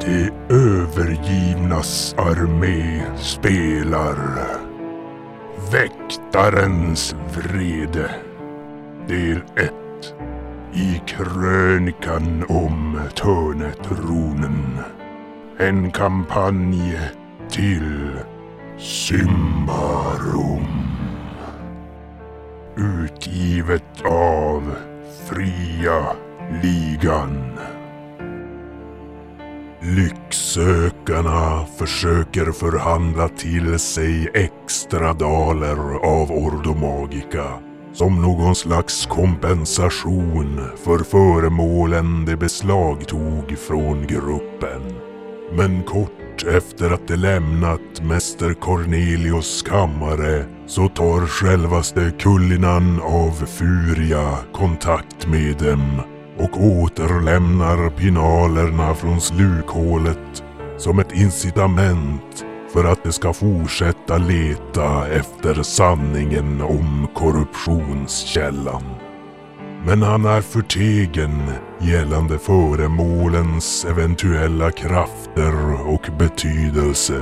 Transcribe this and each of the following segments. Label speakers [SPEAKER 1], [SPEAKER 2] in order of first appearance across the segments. [SPEAKER 1] De övergivnas armé spelar Väktarens vrede Del 1 I krönikan om Törnetronen En kampanj till Symbarum Utgivet av Fria Ligan Lycksökarna försöker förhandla till sig extra daler av Ordomagica som någon slags kompensation för föremålen de beslagtog från gruppen. Men kort efter att de lämnat Mäster Cornelius kammare så tar självaste Kullinan av Furia kontakt med dem och återlämnar pinalerna från slukhålet som ett incitament för att de ska fortsätta leta efter sanningen om korruptionskällan. Men han är förtegen gällande föremålens eventuella krafter och betydelse.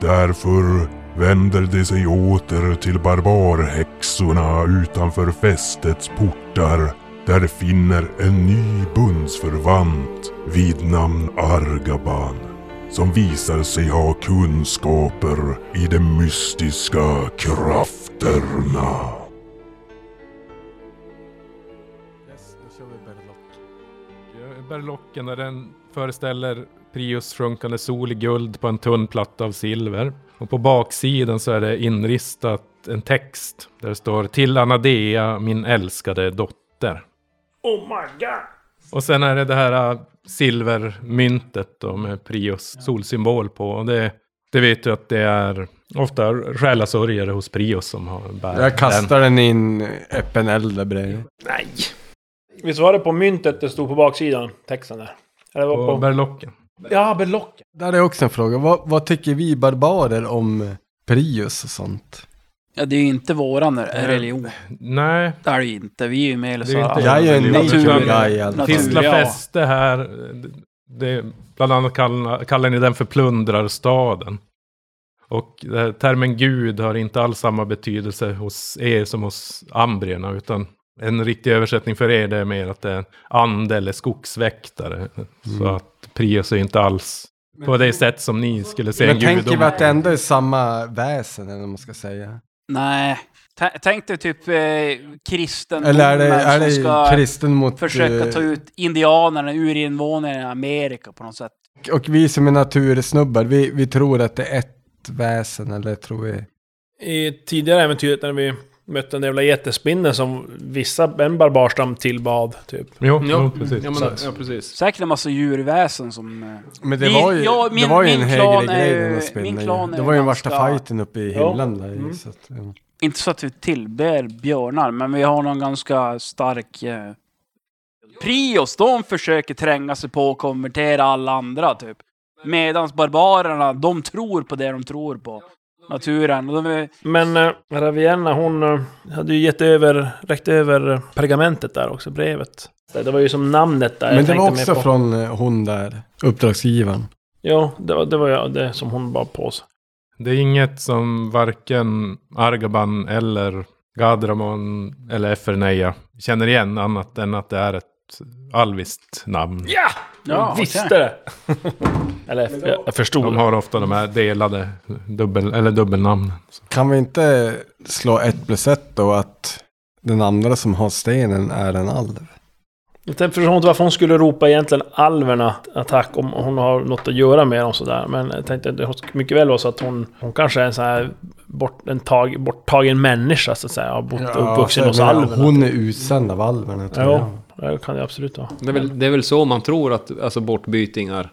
[SPEAKER 1] Därför vänder de sig åter till barbarhäxorna utanför fästets portar där finner en ny bundsförvant vid namn Argaban som visar sig ha kunskaper i de mystiska krafterna.
[SPEAKER 2] Yes, nu kör vi berlock. Berlocken är den föreställer Prius sjunkande sol i guld på en tunn platta av silver. Och på baksidan så är det inristat en text där det står Till Anadea, min älskade dotter.
[SPEAKER 3] Oh my god!
[SPEAKER 2] Och sen är det det här äh, silvermyntet då med Prius solsymbol på. Och det, det vet du att det är ofta själasörjare hos Prius som har bär
[SPEAKER 4] Jag kastar den i en öppen eld där bredvid.
[SPEAKER 3] Nej! Visst var det på myntet det stod på baksidan? Texten där. Eller
[SPEAKER 2] den
[SPEAKER 3] var
[SPEAKER 2] på
[SPEAKER 3] på...
[SPEAKER 2] berlocken.
[SPEAKER 3] Ja, berlocken.
[SPEAKER 4] Där är också en fråga. Vad, vad tycker vi barbarer om Prius och sånt?
[SPEAKER 5] Ja, det är ju inte våran religion.
[SPEAKER 2] Nej,
[SPEAKER 5] Det är det ju inte. Vi är ju med i
[SPEAKER 2] Det är inte
[SPEAKER 5] så-
[SPEAKER 4] Jag är ju en
[SPEAKER 2] Naturen.
[SPEAKER 4] nature guy
[SPEAKER 5] Natur-
[SPEAKER 4] alltså.
[SPEAKER 2] Tistla
[SPEAKER 5] Ja.
[SPEAKER 2] fäste här. Det, bland annat kallar, kallar ni den för plundrarstaden. Och det här, termen gud har inte alls samma betydelse hos er som hos ambrierna. Utan en riktig översättning för er det är mer att det är en ande eller skogsväktare. Så
[SPEAKER 4] Mm.
[SPEAKER 2] att Prius är inte alls på det sätt som ni skulle se en
[SPEAKER 4] Men tänker
[SPEAKER 2] gudom.
[SPEAKER 4] vi att det ändå är samma väsen eller vad man ska säga?
[SPEAKER 5] Nej. Tä- Tänk dig typ eh, kristendomen
[SPEAKER 4] Eller är det, är
[SPEAKER 5] som
[SPEAKER 4] det
[SPEAKER 5] ska
[SPEAKER 4] kristen mot...
[SPEAKER 5] försöka
[SPEAKER 4] eh,
[SPEAKER 5] ta ut indianerna ur invånarna i Amerika på något sätt.
[SPEAKER 4] Och vi som är natursnubbar, vi, vi tror att det är ett väsen eller tror vi...
[SPEAKER 3] I tidigare äventyret när vi mötte den där jävla jättespinnen som vissa, en barbarstam tillbad, typ.
[SPEAKER 2] Jo,
[SPEAKER 6] Ja,
[SPEAKER 2] jo, precis.
[SPEAKER 6] ja, men, ja precis.
[SPEAKER 5] Säkert en massa djurväsen som... eh,
[SPEAKER 4] Men det
[SPEAKER 5] Min-
[SPEAKER 4] var ju,
[SPEAKER 5] ja,
[SPEAKER 4] det
[SPEAKER 5] min-
[SPEAKER 4] var ju
[SPEAKER 5] min
[SPEAKER 4] en
[SPEAKER 5] klan
[SPEAKER 4] högre
[SPEAKER 5] är
[SPEAKER 4] grej
[SPEAKER 5] ju-
[SPEAKER 4] den där
[SPEAKER 5] min
[SPEAKER 4] spinnen.
[SPEAKER 5] klan
[SPEAKER 4] ju.
[SPEAKER 5] är
[SPEAKER 4] Det var ju den
[SPEAKER 5] ganska-
[SPEAKER 4] värsta fighten uppe i
[SPEAKER 3] Ja.
[SPEAKER 4] himlen där ju,
[SPEAKER 3] Mm.
[SPEAKER 4] så att, ja.
[SPEAKER 5] Inte så att vi tillber björnar, men vi har någon ganska stark... Eh, prios, de försöker tränga sig på och konvertera alla andra, typ. Medan barbarerna, de tror på det de tror på. Naturen. Och de är,
[SPEAKER 3] Men äh, Ravienna, hon eh, hade ju gett över, räckt över pergamentet där också, brevet. Det det var ju som namnet där.
[SPEAKER 4] Men
[SPEAKER 3] jag
[SPEAKER 4] det var
[SPEAKER 3] tänkte mer
[SPEAKER 4] också
[SPEAKER 3] på.
[SPEAKER 4] från eh, hon där, uppdragsgivaren.
[SPEAKER 3] Ja, det var, det var ju det som hon bara på sig.
[SPEAKER 2] Det är inget som varken Argaban eller Gadramon eller Eferneja känner igen annat än att det är ett alviskt namn.
[SPEAKER 3] Ja!
[SPEAKER 5] Ja,
[SPEAKER 3] Jag
[SPEAKER 5] okej.
[SPEAKER 3] visste det! Eller, jag, jag förstod.
[SPEAKER 2] De har ofta de här delade dubbel, eller dubbelnamn.
[SPEAKER 4] Kan vi inte slå ett plus ett då att den andra som har stenen är en alv?
[SPEAKER 3] Jag tänkte- förstår inte varför hon skulle ropa egentligen alverna attack om hon har något att göra med dem sådär. Men jag tänkte att det mycket väl vara så att hon, hon kanske är en sån här bort, en tag, borttagen människa så att säga. Har bott uppvuxen
[SPEAKER 4] så-
[SPEAKER 3] hos
[SPEAKER 4] men
[SPEAKER 3] alverna.
[SPEAKER 4] Hon är utsänd av alverna tror jag.
[SPEAKER 3] Ja, det kan det absolut vara.
[SPEAKER 6] Det är, väl, det är väl så man tror att alltså, bortbytingar...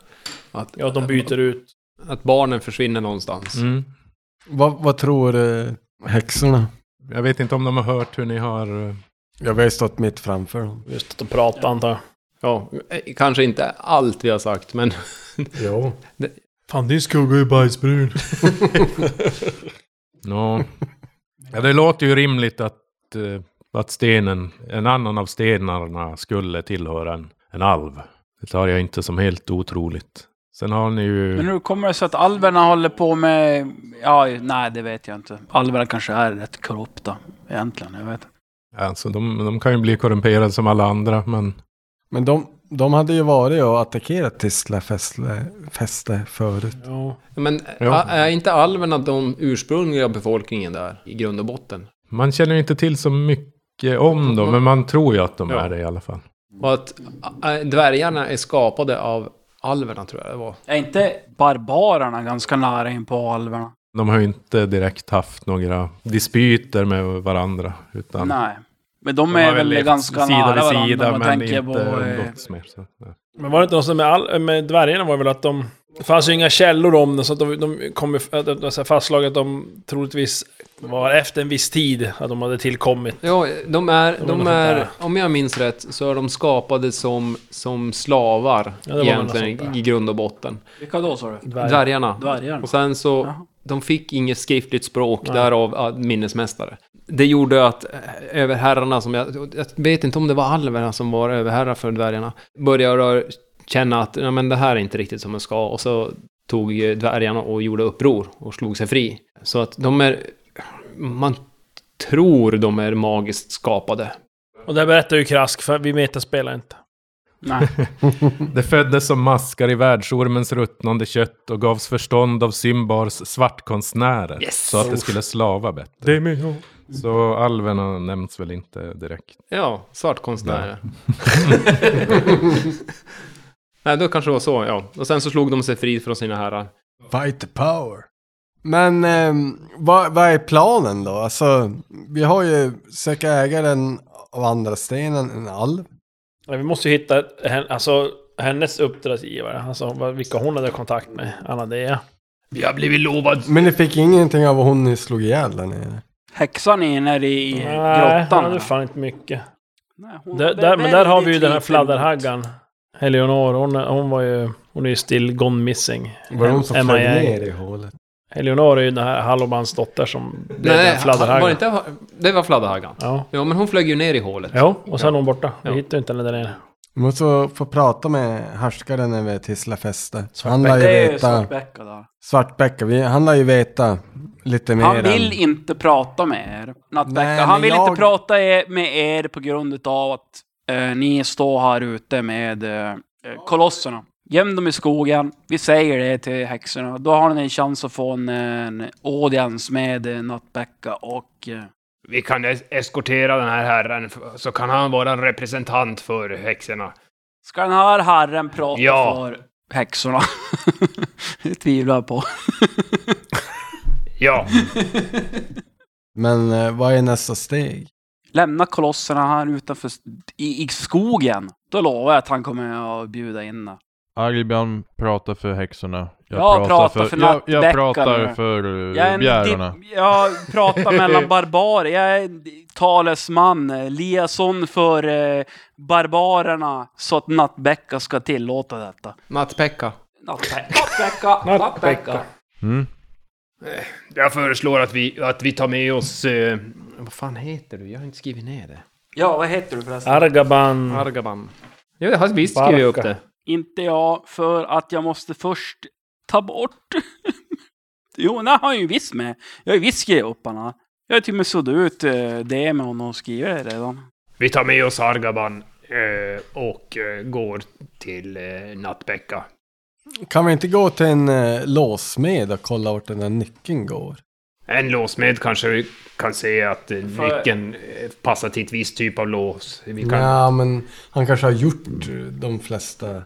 [SPEAKER 6] Att,
[SPEAKER 3] Ja, de byter ut.
[SPEAKER 6] att barnen försvinner någonstans.
[SPEAKER 2] Mm.
[SPEAKER 4] Vad, vad tror eh, häxorna?
[SPEAKER 2] Jag vet inte om de har hört hur ni har... eh,
[SPEAKER 4] Ja, vi har ju stått mitt framför dem.
[SPEAKER 3] Just att de pratar antar jag.
[SPEAKER 6] Ja, eh, kanske inte allt vi har sagt, men...
[SPEAKER 4] Jo.
[SPEAKER 3] Fan, din skugga är bajsbrun.
[SPEAKER 2] nå. Ja, det låter ju rimligt att, eh, att stenen, en annan av stenarna skulle tillhöra en, en alv. Det tar jag inte som helt otroligt. Sen har ni ju...
[SPEAKER 5] Men hur kommer det sig att alverna håller på med... Ja, nej, det vet jag inte. Alverna kanske är rätt korrupta egentligen. Jag vet inte.
[SPEAKER 2] Alltså, de, de kan ju bli korrumperade som alla andra, men
[SPEAKER 4] Men de, de hade ju varit och attackerat Tisla fäste, fäste förut.
[SPEAKER 3] Ja.
[SPEAKER 6] Men
[SPEAKER 2] Jo.
[SPEAKER 6] ä- är inte alverna de ursprungliga befolkningen där i grund och botten?
[SPEAKER 2] man känner ju inte till så mycket om dem. Men man tror ju att de
[SPEAKER 6] Ja.
[SPEAKER 2] är det i alla fall.
[SPEAKER 6] Och att ä, dvärgarna är skapade av alverna tror jag det var.
[SPEAKER 5] Är inte barbarerna ganska nära in på alverna?
[SPEAKER 2] De har ju inte direkt haft några dispyter med varandra. Utan
[SPEAKER 5] Nej. Men de
[SPEAKER 2] de har
[SPEAKER 5] är väl
[SPEAKER 2] levt
[SPEAKER 5] ganska nära varandra. om man
[SPEAKER 2] men
[SPEAKER 5] tänker
[SPEAKER 2] inte
[SPEAKER 5] på, eh,
[SPEAKER 2] umgåtts mer. Så, ja.
[SPEAKER 3] Men var det inte något som med, all, med dvärgarna var det väl att de... Det fanns ju inga källor om det, så att de, de kom ju- att det var så här fastslaget att de troligtvis var efter en viss tid att de hade tillkommit.
[SPEAKER 6] Ja, de är,
[SPEAKER 3] var något
[SPEAKER 6] de
[SPEAKER 3] sånt
[SPEAKER 6] är
[SPEAKER 3] där.
[SPEAKER 6] om jag minns rätt, så är de skapade som, som slavar
[SPEAKER 3] Ja, det var något sånt
[SPEAKER 6] egentligen
[SPEAKER 3] där.
[SPEAKER 6] i grund och botten.
[SPEAKER 5] Vilka då sa du?
[SPEAKER 3] Dvärg.
[SPEAKER 6] Dvärgarna.
[SPEAKER 5] Dvärgarna?
[SPEAKER 6] Och sen så,
[SPEAKER 5] Mm. Jaha.
[SPEAKER 6] de fick inget skriftligt språk, därav ja, minnesmästare. Det gjorde att eh, överherrarna som jag, jag vet inte om det var alverna som var överherrar för dvärgarna, började rö- känna att nej, men det här är inte riktigt som det ska, och så tog eh, dvärgarna och gjorde uppror och slog sig fri. Så att de är, man tror de är magiskt skapade.
[SPEAKER 3] Och det här berättar ju Krask, för vi metaspelar inte.
[SPEAKER 5] Nej.
[SPEAKER 2] Det föddes som maskar i världsormens ruttnande kött och gavs förstånd av Symbars svartkonstnärer. Så att det skulle slava bättre. Så alverna nämns väl inte direkt.
[SPEAKER 6] Ja, svartkonstnärer. Nej, då kanske det var så, ja. Och sen så slog de sig fri från sina herrar.
[SPEAKER 4] Fight the power. Men ehm, vad, vad är planen då? Alltså, vi har ju söka ägaren av andra stenen, en alv.
[SPEAKER 3] Nej, Vi måste ju hitta hen- alltså, hennes uppdragsgivare, alltså vad- vilka hon hade kontakt med, Anadea.
[SPEAKER 6] Vi har blivit lovad
[SPEAKER 4] Men ni fick ingenting av vad hon ni slog ihjäl där nere?
[SPEAKER 5] Häxan är nere i
[SPEAKER 3] Nej,
[SPEAKER 5] grottan.
[SPEAKER 3] hon hade
[SPEAKER 5] eller?
[SPEAKER 3] fan inte mycket.
[SPEAKER 5] Nej, hon
[SPEAKER 3] Där,
[SPEAKER 5] hade
[SPEAKER 3] där, men där har vi ju
[SPEAKER 5] väldigt
[SPEAKER 3] den här
[SPEAKER 5] lite
[SPEAKER 3] fladderhaggan. Eleonor, hon, hon var ju... Hon är ju still gone missing.
[SPEAKER 4] Var det hon som
[SPEAKER 3] M-
[SPEAKER 4] flög
[SPEAKER 3] MIA.
[SPEAKER 4] ner i hålet?
[SPEAKER 3] Eleonor är ju den här Hallobans dotter som blev den här
[SPEAKER 6] Nej, var
[SPEAKER 3] fladderhaggan.
[SPEAKER 6] det inte... Det var fladderhaggan.
[SPEAKER 3] Ja.
[SPEAKER 6] Ja, men hon flög ju ner i hålet.
[SPEAKER 3] Jo, och sen är hon borta. Vi
[SPEAKER 6] Ja.
[SPEAKER 3] hittar ju inte henne där nere.
[SPEAKER 4] Vi måste få prata med härskaren över Tislafäste. Han lär
[SPEAKER 5] pengar.
[SPEAKER 4] ju
[SPEAKER 5] Det är
[SPEAKER 4] veta...
[SPEAKER 5] Svartbäcka där.
[SPEAKER 4] Svartbäcka, vi, han lär ju veta lite mer
[SPEAKER 5] Han
[SPEAKER 4] än-
[SPEAKER 5] vill inte prata med er. Nattbäcka.
[SPEAKER 4] Nej, men
[SPEAKER 5] han vill
[SPEAKER 4] jag-
[SPEAKER 5] inte prata e- med er på grund av att eh, ni står här ute med eh, kolosserna. Göm dem i skogen. Vi säger det till häxorna. Då har ni en chans att få en, en audience med eh, Nattbäcka och... Eh,
[SPEAKER 7] Vi kan es- eskortera den här herren, f- så kan han vara en representant för häxorna.
[SPEAKER 5] ska den här herren prata
[SPEAKER 7] Ja.
[SPEAKER 5] för häxorna? det tvivlar jag på.
[SPEAKER 7] Ja,
[SPEAKER 4] Men eh, vad är nästa steg?
[SPEAKER 5] Lämna kolosserna här utanför s- i, i skogen. Då lovar jag att han kommer att bjuda in er.
[SPEAKER 8] Albion pratar för häxorna.
[SPEAKER 5] Jag pratar för
[SPEAKER 8] jag, jag
[SPEAKER 5] nattbäckarna.
[SPEAKER 8] pratar för eh,
[SPEAKER 5] Jag, är en
[SPEAKER 8] bjärarna.
[SPEAKER 5] dip- jag pratar mellan barbarer. Jag är en talesman, eh, liaison för eh, barbarerna så att Nattbäcka ska tillåta detta.
[SPEAKER 6] Nattpekka.
[SPEAKER 5] Nattbä- Nattbäcka, Nattbäcka.
[SPEAKER 8] Mm.
[SPEAKER 7] jag föreslår att vi, att vi tar med oss... Eh,
[SPEAKER 6] Vad fan heter du? Jag har inte skrivit ner det.
[SPEAKER 5] Ja, vad heter du förresten?
[SPEAKER 3] Argaban.
[SPEAKER 5] Mm.
[SPEAKER 6] Argaban. Ja, jag har visst skrivit upp
[SPEAKER 3] Barka.
[SPEAKER 6] det.
[SPEAKER 5] Inte jag, för att jag måste först ta bort... jo, nej, han är ju visst med. Jag har ju visst skrivit upp han här. Jag har till och med suddat ut eh, det med honom och skrivit det redan.
[SPEAKER 7] vi tar med oss Argaban eh, och eh, går till eh, Nattbäcka.
[SPEAKER 4] Kan vi inte gå till en eh, låsmed och kolla vart den där nyckeln går?
[SPEAKER 7] En låsmed kanske vi kan se att eh,
[SPEAKER 5] För-
[SPEAKER 7] nyckeln eh, passar till ett visst typ av lås. Vi kan...
[SPEAKER 4] Ja, men han kanske har gjort eh, de flesta...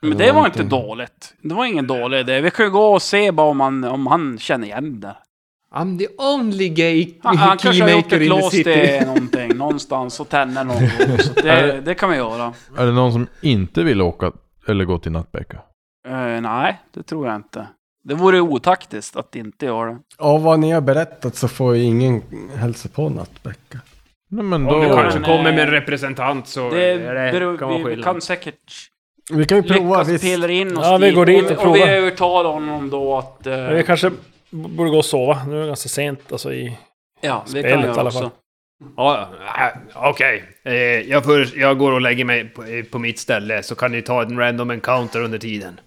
[SPEAKER 5] Men det var inte dåligt. Det var ingen dålig idé. Vi kan ju gå och se bara om han, om han känner igen det.
[SPEAKER 6] I'm the only gay
[SPEAKER 5] Han, Ah, han kanske har gjort
[SPEAKER 6] keymaker
[SPEAKER 5] ett
[SPEAKER 6] in the
[SPEAKER 5] lås
[SPEAKER 6] city.
[SPEAKER 5] till någonting någonstans och tänder någon gång. Så det, det kan vi göra.
[SPEAKER 8] Är det någon som inte vill åka eller gå till Nattbäcka?
[SPEAKER 5] Eh, nej, det tror jag inte. Det vore otaktiskt att inte göra det.
[SPEAKER 4] Av vad ni har berättat så får ju ingen hälsa på Nattbäcka.
[SPEAKER 8] Nej men
[SPEAKER 7] Om
[SPEAKER 8] då...
[SPEAKER 7] du
[SPEAKER 5] Åh.
[SPEAKER 7] kanske kommer med en
[SPEAKER 5] Nej.
[SPEAKER 7] representant så...
[SPEAKER 5] Det
[SPEAKER 7] är det- kan vara
[SPEAKER 5] beror, vi, vi
[SPEAKER 7] skillnad.
[SPEAKER 5] kan säkert
[SPEAKER 4] Vi kan ju prova,
[SPEAKER 5] lyckas
[SPEAKER 4] visst.
[SPEAKER 5] pillra in oss
[SPEAKER 3] Ja, vi går dit och
[SPEAKER 5] och, och vi
[SPEAKER 3] provar.
[SPEAKER 5] övertalar honom då att... eh,
[SPEAKER 3] Men Vi kanske b- borde gå och sova. Nu är det ganska sent alltså i...
[SPEAKER 5] ja, det
[SPEAKER 3] spelet
[SPEAKER 5] kan
[SPEAKER 3] i
[SPEAKER 5] vi göra
[SPEAKER 3] alla fall.
[SPEAKER 5] också.
[SPEAKER 7] Ja, ja, äh, okej. Eh, Jag, föres- jag går och lägger mig på, eh, på mitt ställe så kan ni ta en random encounter under tiden.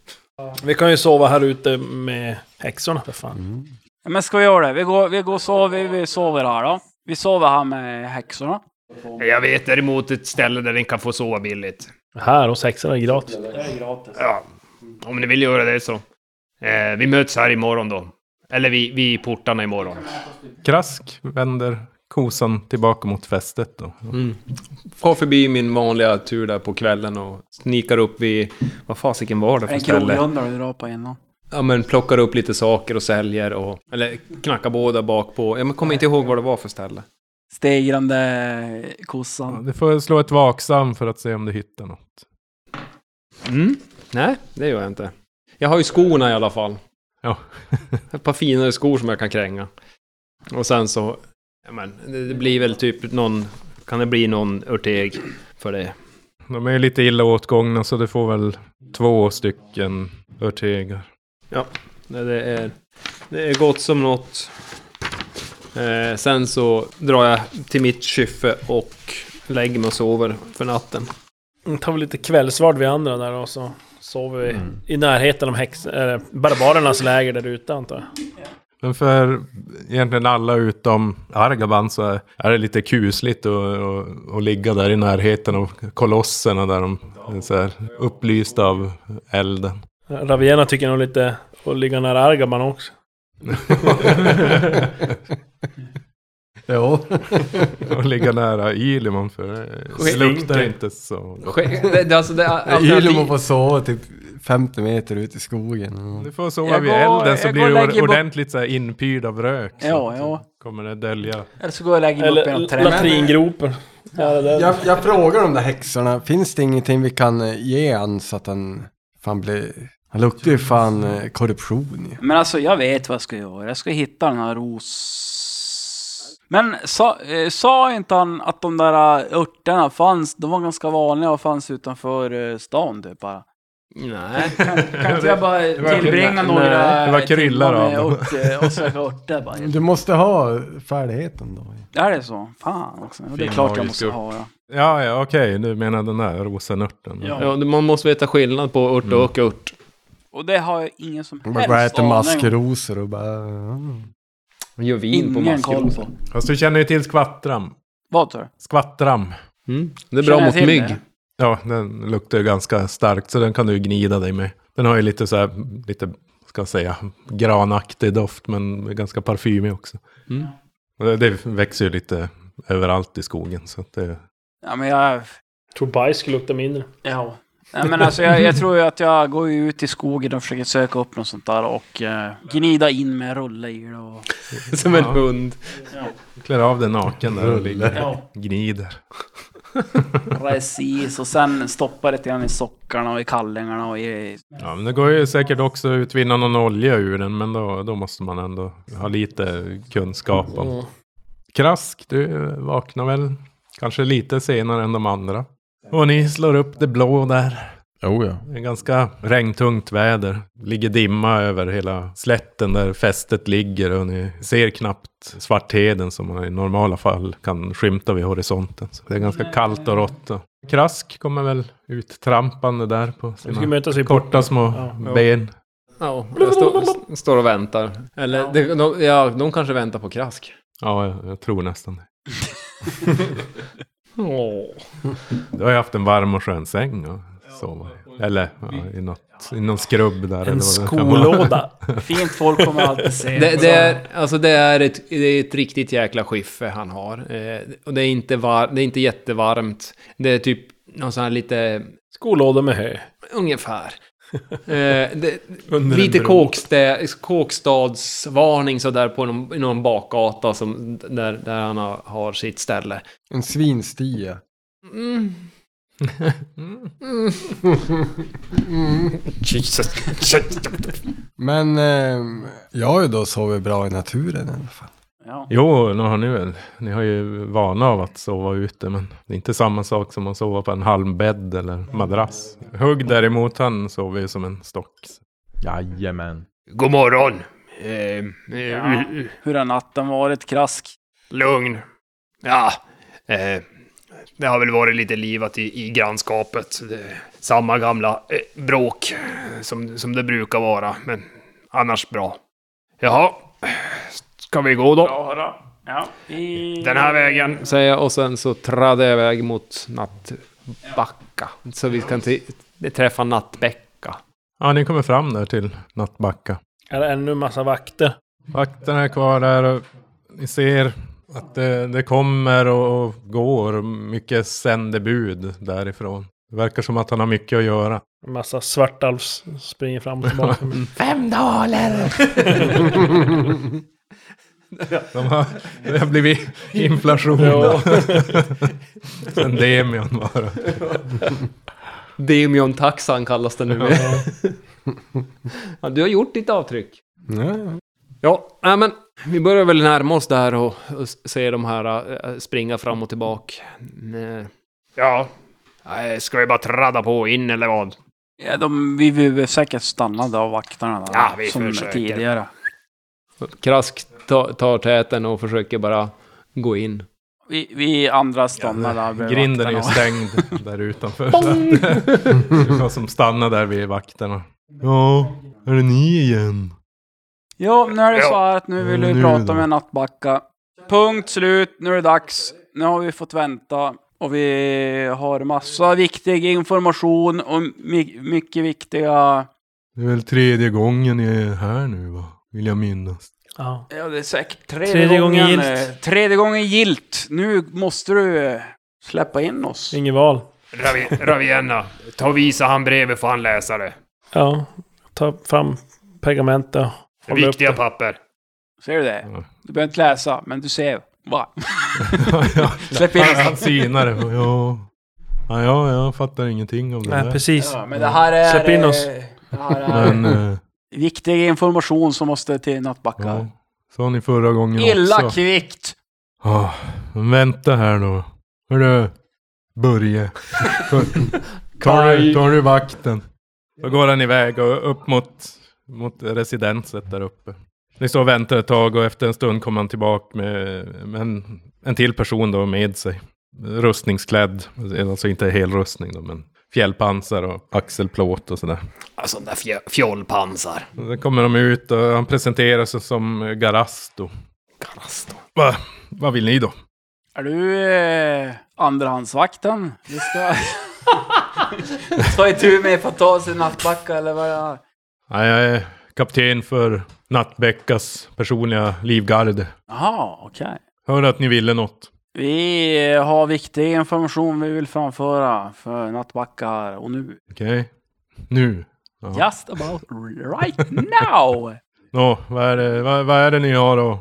[SPEAKER 3] Vi kan ju sova här ute med häxorna för fan.
[SPEAKER 5] Men ska vi göra det? Vi går, vi går och sover, vi sover här då. Vi sover här med häxorna.
[SPEAKER 7] Eh, Jag vet däremot ett ställe där ni kan få sova billigt.
[SPEAKER 3] Här hos häxorna är det gratis.
[SPEAKER 7] Ja, om ni vill göra det så. Eh, vi möts här imorgon då. Eller vi, vi i portarna imorgon.
[SPEAKER 2] Krask vänder kosan tillbaka mot fästet då.
[SPEAKER 6] Far förbi min vanliga tur där på kvällen och snikar upp vid... Vad fasiken var det för
[SPEAKER 5] En
[SPEAKER 6] ställe?
[SPEAKER 5] krogrundare du drar på innan.
[SPEAKER 6] Ja, men plockar upp lite saker och säljer och... Eller knackar båda bak på. Jag men kommer inte ihåg vad det var för ställe.
[SPEAKER 5] Stegrande
[SPEAKER 2] Ja,
[SPEAKER 5] kossan.
[SPEAKER 2] du får slå ett vaksam för att se om du hittar något.
[SPEAKER 6] Mm. Nej, det gör jag inte. Jag har ju skorna i alla fall.
[SPEAKER 2] Ja.
[SPEAKER 6] Ett par finare skor som jag kan kränga. Och sen så... Ja, men, det det blir väl typ någon... Kan det bli någon örteg för det?
[SPEAKER 2] De är ju lite illa åtgångna så du får väl två stycken örtegar.
[SPEAKER 6] Nej, Det är, det är gott som något. Eh, sen så drar jag till mitt kyffe och lägger mig och sover för natten.
[SPEAKER 3] Mm, Tar vi lite kvällsvard vi andra där och så sover vi i närheten av häx, eller barbarernas läger där ute antar jag.
[SPEAKER 2] Men för egentligen alla utom Argaban så är- är det lite kusligt att att- att ligga där i närheten av kolosserna där de är så här, upplysta av elden.
[SPEAKER 3] Ravierna tycker nog lite att ligga nära Argaban också.
[SPEAKER 4] Jo.
[SPEAKER 2] Och ligga nära Ilimon för det luktar inte så.
[SPEAKER 6] Det, det, alltså, det,
[SPEAKER 4] Ylemo får sova typ 50 meter ut i skogen.
[SPEAKER 2] Du får sova
[SPEAKER 5] Jag
[SPEAKER 2] vid
[SPEAKER 5] går-
[SPEAKER 2] elden så
[SPEAKER 5] jag
[SPEAKER 2] blir
[SPEAKER 5] går och
[SPEAKER 2] du
[SPEAKER 5] lägger bo-
[SPEAKER 2] ordentligt så här inpyrd av rök. så
[SPEAKER 5] Ja,
[SPEAKER 2] att
[SPEAKER 5] ja.
[SPEAKER 2] Kommer det dölja.
[SPEAKER 5] Eller så går jag och lägger mig upp i något
[SPEAKER 3] Eller
[SPEAKER 5] träd.
[SPEAKER 3] latringropen. Ja, det där.
[SPEAKER 4] Jag, jag frågar de där häxorna, finns det ingenting vi kan eh, ge han så att han fan blir... Han luktar ju fan eh, korruption ju.
[SPEAKER 5] Men alltså jag vet vad jag ska göra. Jag ska hitta den här ros... Men sa, eh, sa inte han att de där eh, örterna fanns? De var ganska vanliga och fanns utanför eh, stan typ bara.
[SPEAKER 6] Nej.
[SPEAKER 5] Kan, kan inte jag bara tillbringa
[SPEAKER 6] nej,
[SPEAKER 5] några
[SPEAKER 2] det var kryllar
[SPEAKER 5] timmar med
[SPEAKER 2] av dem.
[SPEAKER 5] ört, eh, och söka örter bara?
[SPEAKER 4] Du måste ha färdigheten då.
[SPEAKER 5] Är det så? Fan också. Det är
[SPEAKER 2] Fin
[SPEAKER 5] klart jag
[SPEAKER 2] magisk
[SPEAKER 5] måste
[SPEAKER 2] ört.
[SPEAKER 5] ha det.
[SPEAKER 2] Ja, ja, okej, du menar den där rosenörten.
[SPEAKER 5] Ja.
[SPEAKER 6] Ja, man måste veta skillnad på ört och ört.
[SPEAKER 5] Och det har jag ingen som
[SPEAKER 4] Man bara
[SPEAKER 5] helst
[SPEAKER 4] äter
[SPEAKER 5] aning om.
[SPEAKER 4] maskrosor och bara... mm.
[SPEAKER 6] Man gör vin på
[SPEAKER 5] Ingen koll
[SPEAKER 6] maskros.
[SPEAKER 5] på.
[SPEAKER 2] Fast du känner ju till skvattram.
[SPEAKER 5] Vad sa du?
[SPEAKER 2] Skvattram.
[SPEAKER 6] Mm. Det är
[SPEAKER 5] Känner
[SPEAKER 6] bra
[SPEAKER 5] jag
[SPEAKER 6] mot
[SPEAKER 5] till
[SPEAKER 6] mygg.
[SPEAKER 5] det?
[SPEAKER 2] Ja, den luktar ju ganska starkt så den kan du ju gnida dig med. Den har ju lite så här, lite, ska jag säga, granaktig doft men ganska parfymig också.
[SPEAKER 6] Mm.
[SPEAKER 2] Och Det, det växer ju lite överallt i skogen så att det...
[SPEAKER 5] Ja men jag...
[SPEAKER 3] Tror bajs skulle lukta mindre.
[SPEAKER 5] Ja. Nej, men alltså jag, jag tror ju att jag går ju ut i skogen och försöker söka upp något sånt där och eh, gnida in med rulle i det och...
[SPEAKER 6] Som en hund.
[SPEAKER 2] Klär av dig naken där och ligger
[SPEAKER 5] Ja,
[SPEAKER 2] gnider.
[SPEAKER 5] precis. Och sen stoppa lite grann i sockarna och i kallingarna och i...
[SPEAKER 2] Ja, men det går ju säkert också att utvinna någon olja ur den men då, då måste man ändå ha lite kunskap om
[SPEAKER 3] Mm.
[SPEAKER 2] Krask, du vaknar väl kanske lite senare än de andra. Och ni slår upp det blå där.
[SPEAKER 8] Jo, ja.
[SPEAKER 2] Det är ganska regntungt väder. Ligger dimma över hela slätten där fästet ligger och ni ser knappt Svartheden som man i normala fall kan skymta vid horisonten. Så det är ganska kallt och rått. Krask kommer väl uttrampande där på
[SPEAKER 3] Vi ska
[SPEAKER 2] sina
[SPEAKER 3] mötas i porten.
[SPEAKER 2] korta små
[SPEAKER 3] Ja,
[SPEAKER 6] ja.
[SPEAKER 2] ben.
[SPEAKER 6] Ja, jag står- står och väntar. Eller det- de, ja, de kanske väntar på krask.
[SPEAKER 2] Ja, jag, jag tror nästan det.
[SPEAKER 6] Åh.
[SPEAKER 2] Du har ju haft en varm och skön säng och sova. Eller ja, i, något, i någon skrubb där. eller
[SPEAKER 3] En
[SPEAKER 2] vad det kan vara.
[SPEAKER 3] skolåda.
[SPEAKER 5] Fint folk kommer alltid se.
[SPEAKER 6] Det, det, är, alltså det, är ett, det är ett riktigt jäkla skiffe han har. Eh, och det är, inte var, det är inte jättevarmt. Det är typ någon sån här lite...
[SPEAKER 3] Skolåda med hö.
[SPEAKER 6] Ungefär. Eh, det,
[SPEAKER 2] Under en
[SPEAKER 6] lite
[SPEAKER 2] bro.
[SPEAKER 6] kåkstä, kåkstadsvarning sådär på någon, i någon bakgata som, där, där han har, har sitt ställe.
[SPEAKER 4] En svinstia.
[SPEAKER 6] Mm.
[SPEAKER 7] Mm.
[SPEAKER 4] Men eh, jag har ju då sovit bra i naturen i alla fall.
[SPEAKER 5] Ja.
[SPEAKER 2] Jo, nu har ni väl. Ni har ju vana av att sova ute, men det är inte samma sak som att sova på en halmbädd eller madrass. Hugg däremot, han sover ju som en stock.
[SPEAKER 8] Jajamän.
[SPEAKER 7] God morgon. Eh, eh,
[SPEAKER 5] Ja.
[SPEAKER 7] l-
[SPEAKER 5] Hur har natten varit? Krask?
[SPEAKER 7] Lugn. Ja. Eh, det har väl varit lite livat i, i grannskapet. Det, är samma gamla eh, bråk som, som det brukar vara, men annars bra. Jaha, ska vi gå då?
[SPEAKER 5] Ja, då. Ja, i...
[SPEAKER 7] Den här vägen.
[SPEAKER 6] Säger jag och sen så tradde jag iväg mot Nattbacka. Så vi kan t- träffa Nattbäcka.
[SPEAKER 2] Ja, ni kommer fram där till Nattbacka.
[SPEAKER 3] Är det ännu massa vakter?
[SPEAKER 2] Vakterna är kvar där och ni ser att det, det kommer och och går mycket sändebud därifrån. Det verkar som att han har mycket att göra.
[SPEAKER 3] Massa svartalvs springer fram och tillbaka.
[SPEAKER 6] Fem daler!
[SPEAKER 2] De har, det har blivit inflation.
[SPEAKER 3] Ja.
[SPEAKER 2] Sen Demian bara.
[SPEAKER 6] Demion taxan kallas den nu. ja, du har gjort ditt avtryck.
[SPEAKER 4] Ja,
[SPEAKER 6] Ja, nej men vi börjar väl närma oss där och, och se de här eh, springa fram och tillbaka. Nej.
[SPEAKER 7] Ja, Nej, ska vi bara tradda på in eller vad?
[SPEAKER 5] Ja, de, vi blir väl säkert stannade av vakterna där,
[SPEAKER 7] Ja, vi
[SPEAKER 5] som
[SPEAKER 7] försöker.
[SPEAKER 5] tidigare.
[SPEAKER 6] Krask ta, tar täten och försöker bara gå in.
[SPEAKER 5] Vi, vi andra stannar där. bredvid
[SPEAKER 2] Grinden är ju
[SPEAKER 5] vakterna.
[SPEAKER 2] stängd där utanför. så att det är någon som stannar där vid vakterna. Ja, är det ni igen?
[SPEAKER 5] Jo, nu är det
[SPEAKER 7] Ja.
[SPEAKER 5] så här att nu vill
[SPEAKER 2] Mm,
[SPEAKER 5] vi
[SPEAKER 2] nu
[SPEAKER 5] prata
[SPEAKER 2] då.
[SPEAKER 5] med Nattbacka. Punkt slut, nu är det dags. Nu har vi fått vänta och vi har massa viktig information och my- mycket viktiga...
[SPEAKER 2] Det är väl tredje gången ni är här nu va? Vill jag minnas.
[SPEAKER 3] Ja.
[SPEAKER 5] Ja, det är säkert tredje,
[SPEAKER 3] Tredje gången
[SPEAKER 5] gången
[SPEAKER 3] gilt.
[SPEAKER 5] eh, Tredje gången gilt. Nu måste du eh, släppa in oss.
[SPEAKER 3] Inget val.
[SPEAKER 7] Ravi, Ravienna, ta och visa han brevet får han läsa det.
[SPEAKER 3] Ja. Ta fram pergamentet. och hålla upp
[SPEAKER 7] Viktiga
[SPEAKER 3] det.
[SPEAKER 7] papper.
[SPEAKER 5] Ser du
[SPEAKER 2] Ja.
[SPEAKER 5] det? Du behöver inte läsa, men du ser. Va?
[SPEAKER 2] Ja,
[SPEAKER 5] Släpp in
[SPEAKER 2] Han
[SPEAKER 5] oss.
[SPEAKER 2] synar det. Ja. Ja, ja, jag fattar ingenting av det
[SPEAKER 3] Nej,
[SPEAKER 2] där.
[SPEAKER 3] precis.
[SPEAKER 5] Ja, men det här är...
[SPEAKER 3] Släpp in oss.
[SPEAKER 5] eh, Det här är
[SPEAKER 2] Men, eh,
[SPEAKER 5] viktig information som måste till
[SPEAKER 2] ja.
[SPEAKER 5] Nattbacka.
[SPEAKER 2] Sa ni förra gången
[SPEAKER 5] Illa
[SPEAKER 2] också?
[SPEAKER 5] kvickt!
[SPEAKER 2] Ja, men vänta här då. Hörru, Börje. Tar du, tar du vakten? Då går han iväg och upp mot, mot residenset där uppe. Ni står och väntar ett tag och efter en stund kommer han tillbaka med, med en, en till person då med sig. Rustningsklädd, alltså inte helrustning då, men fjällpansar och axelplåt och sådär.
[SPEAKER 7] Sån där fj- fjollpansar.
[SPEAKER 2] Sen kommer de ut och han presenterar sig som eh, Garasto. Va, vad vill ni då?
[SPEAKER 5] Är du eh, andrahandsvakten? Vi ska ta itu med för att ta oss i Nattbacka eller vad det är.
[SPEAKER 2] Nej, jag är kapten för Nattbäckas personliga livgarde.
[SPEAKER 5] Jaha, okej.
[SPEAKER 2] Hörde att ni ville något.
[SPEAKER 5] Vi eh, har viktig information vi vill framföra för Nattbacka här och nu.
[SPEAKER 2] Okej? Nu? Ja.
[SPEAKER 5] Just about right now!
[SPEAKER 2] Nå, vad, är det, vad, vad är det ni har att,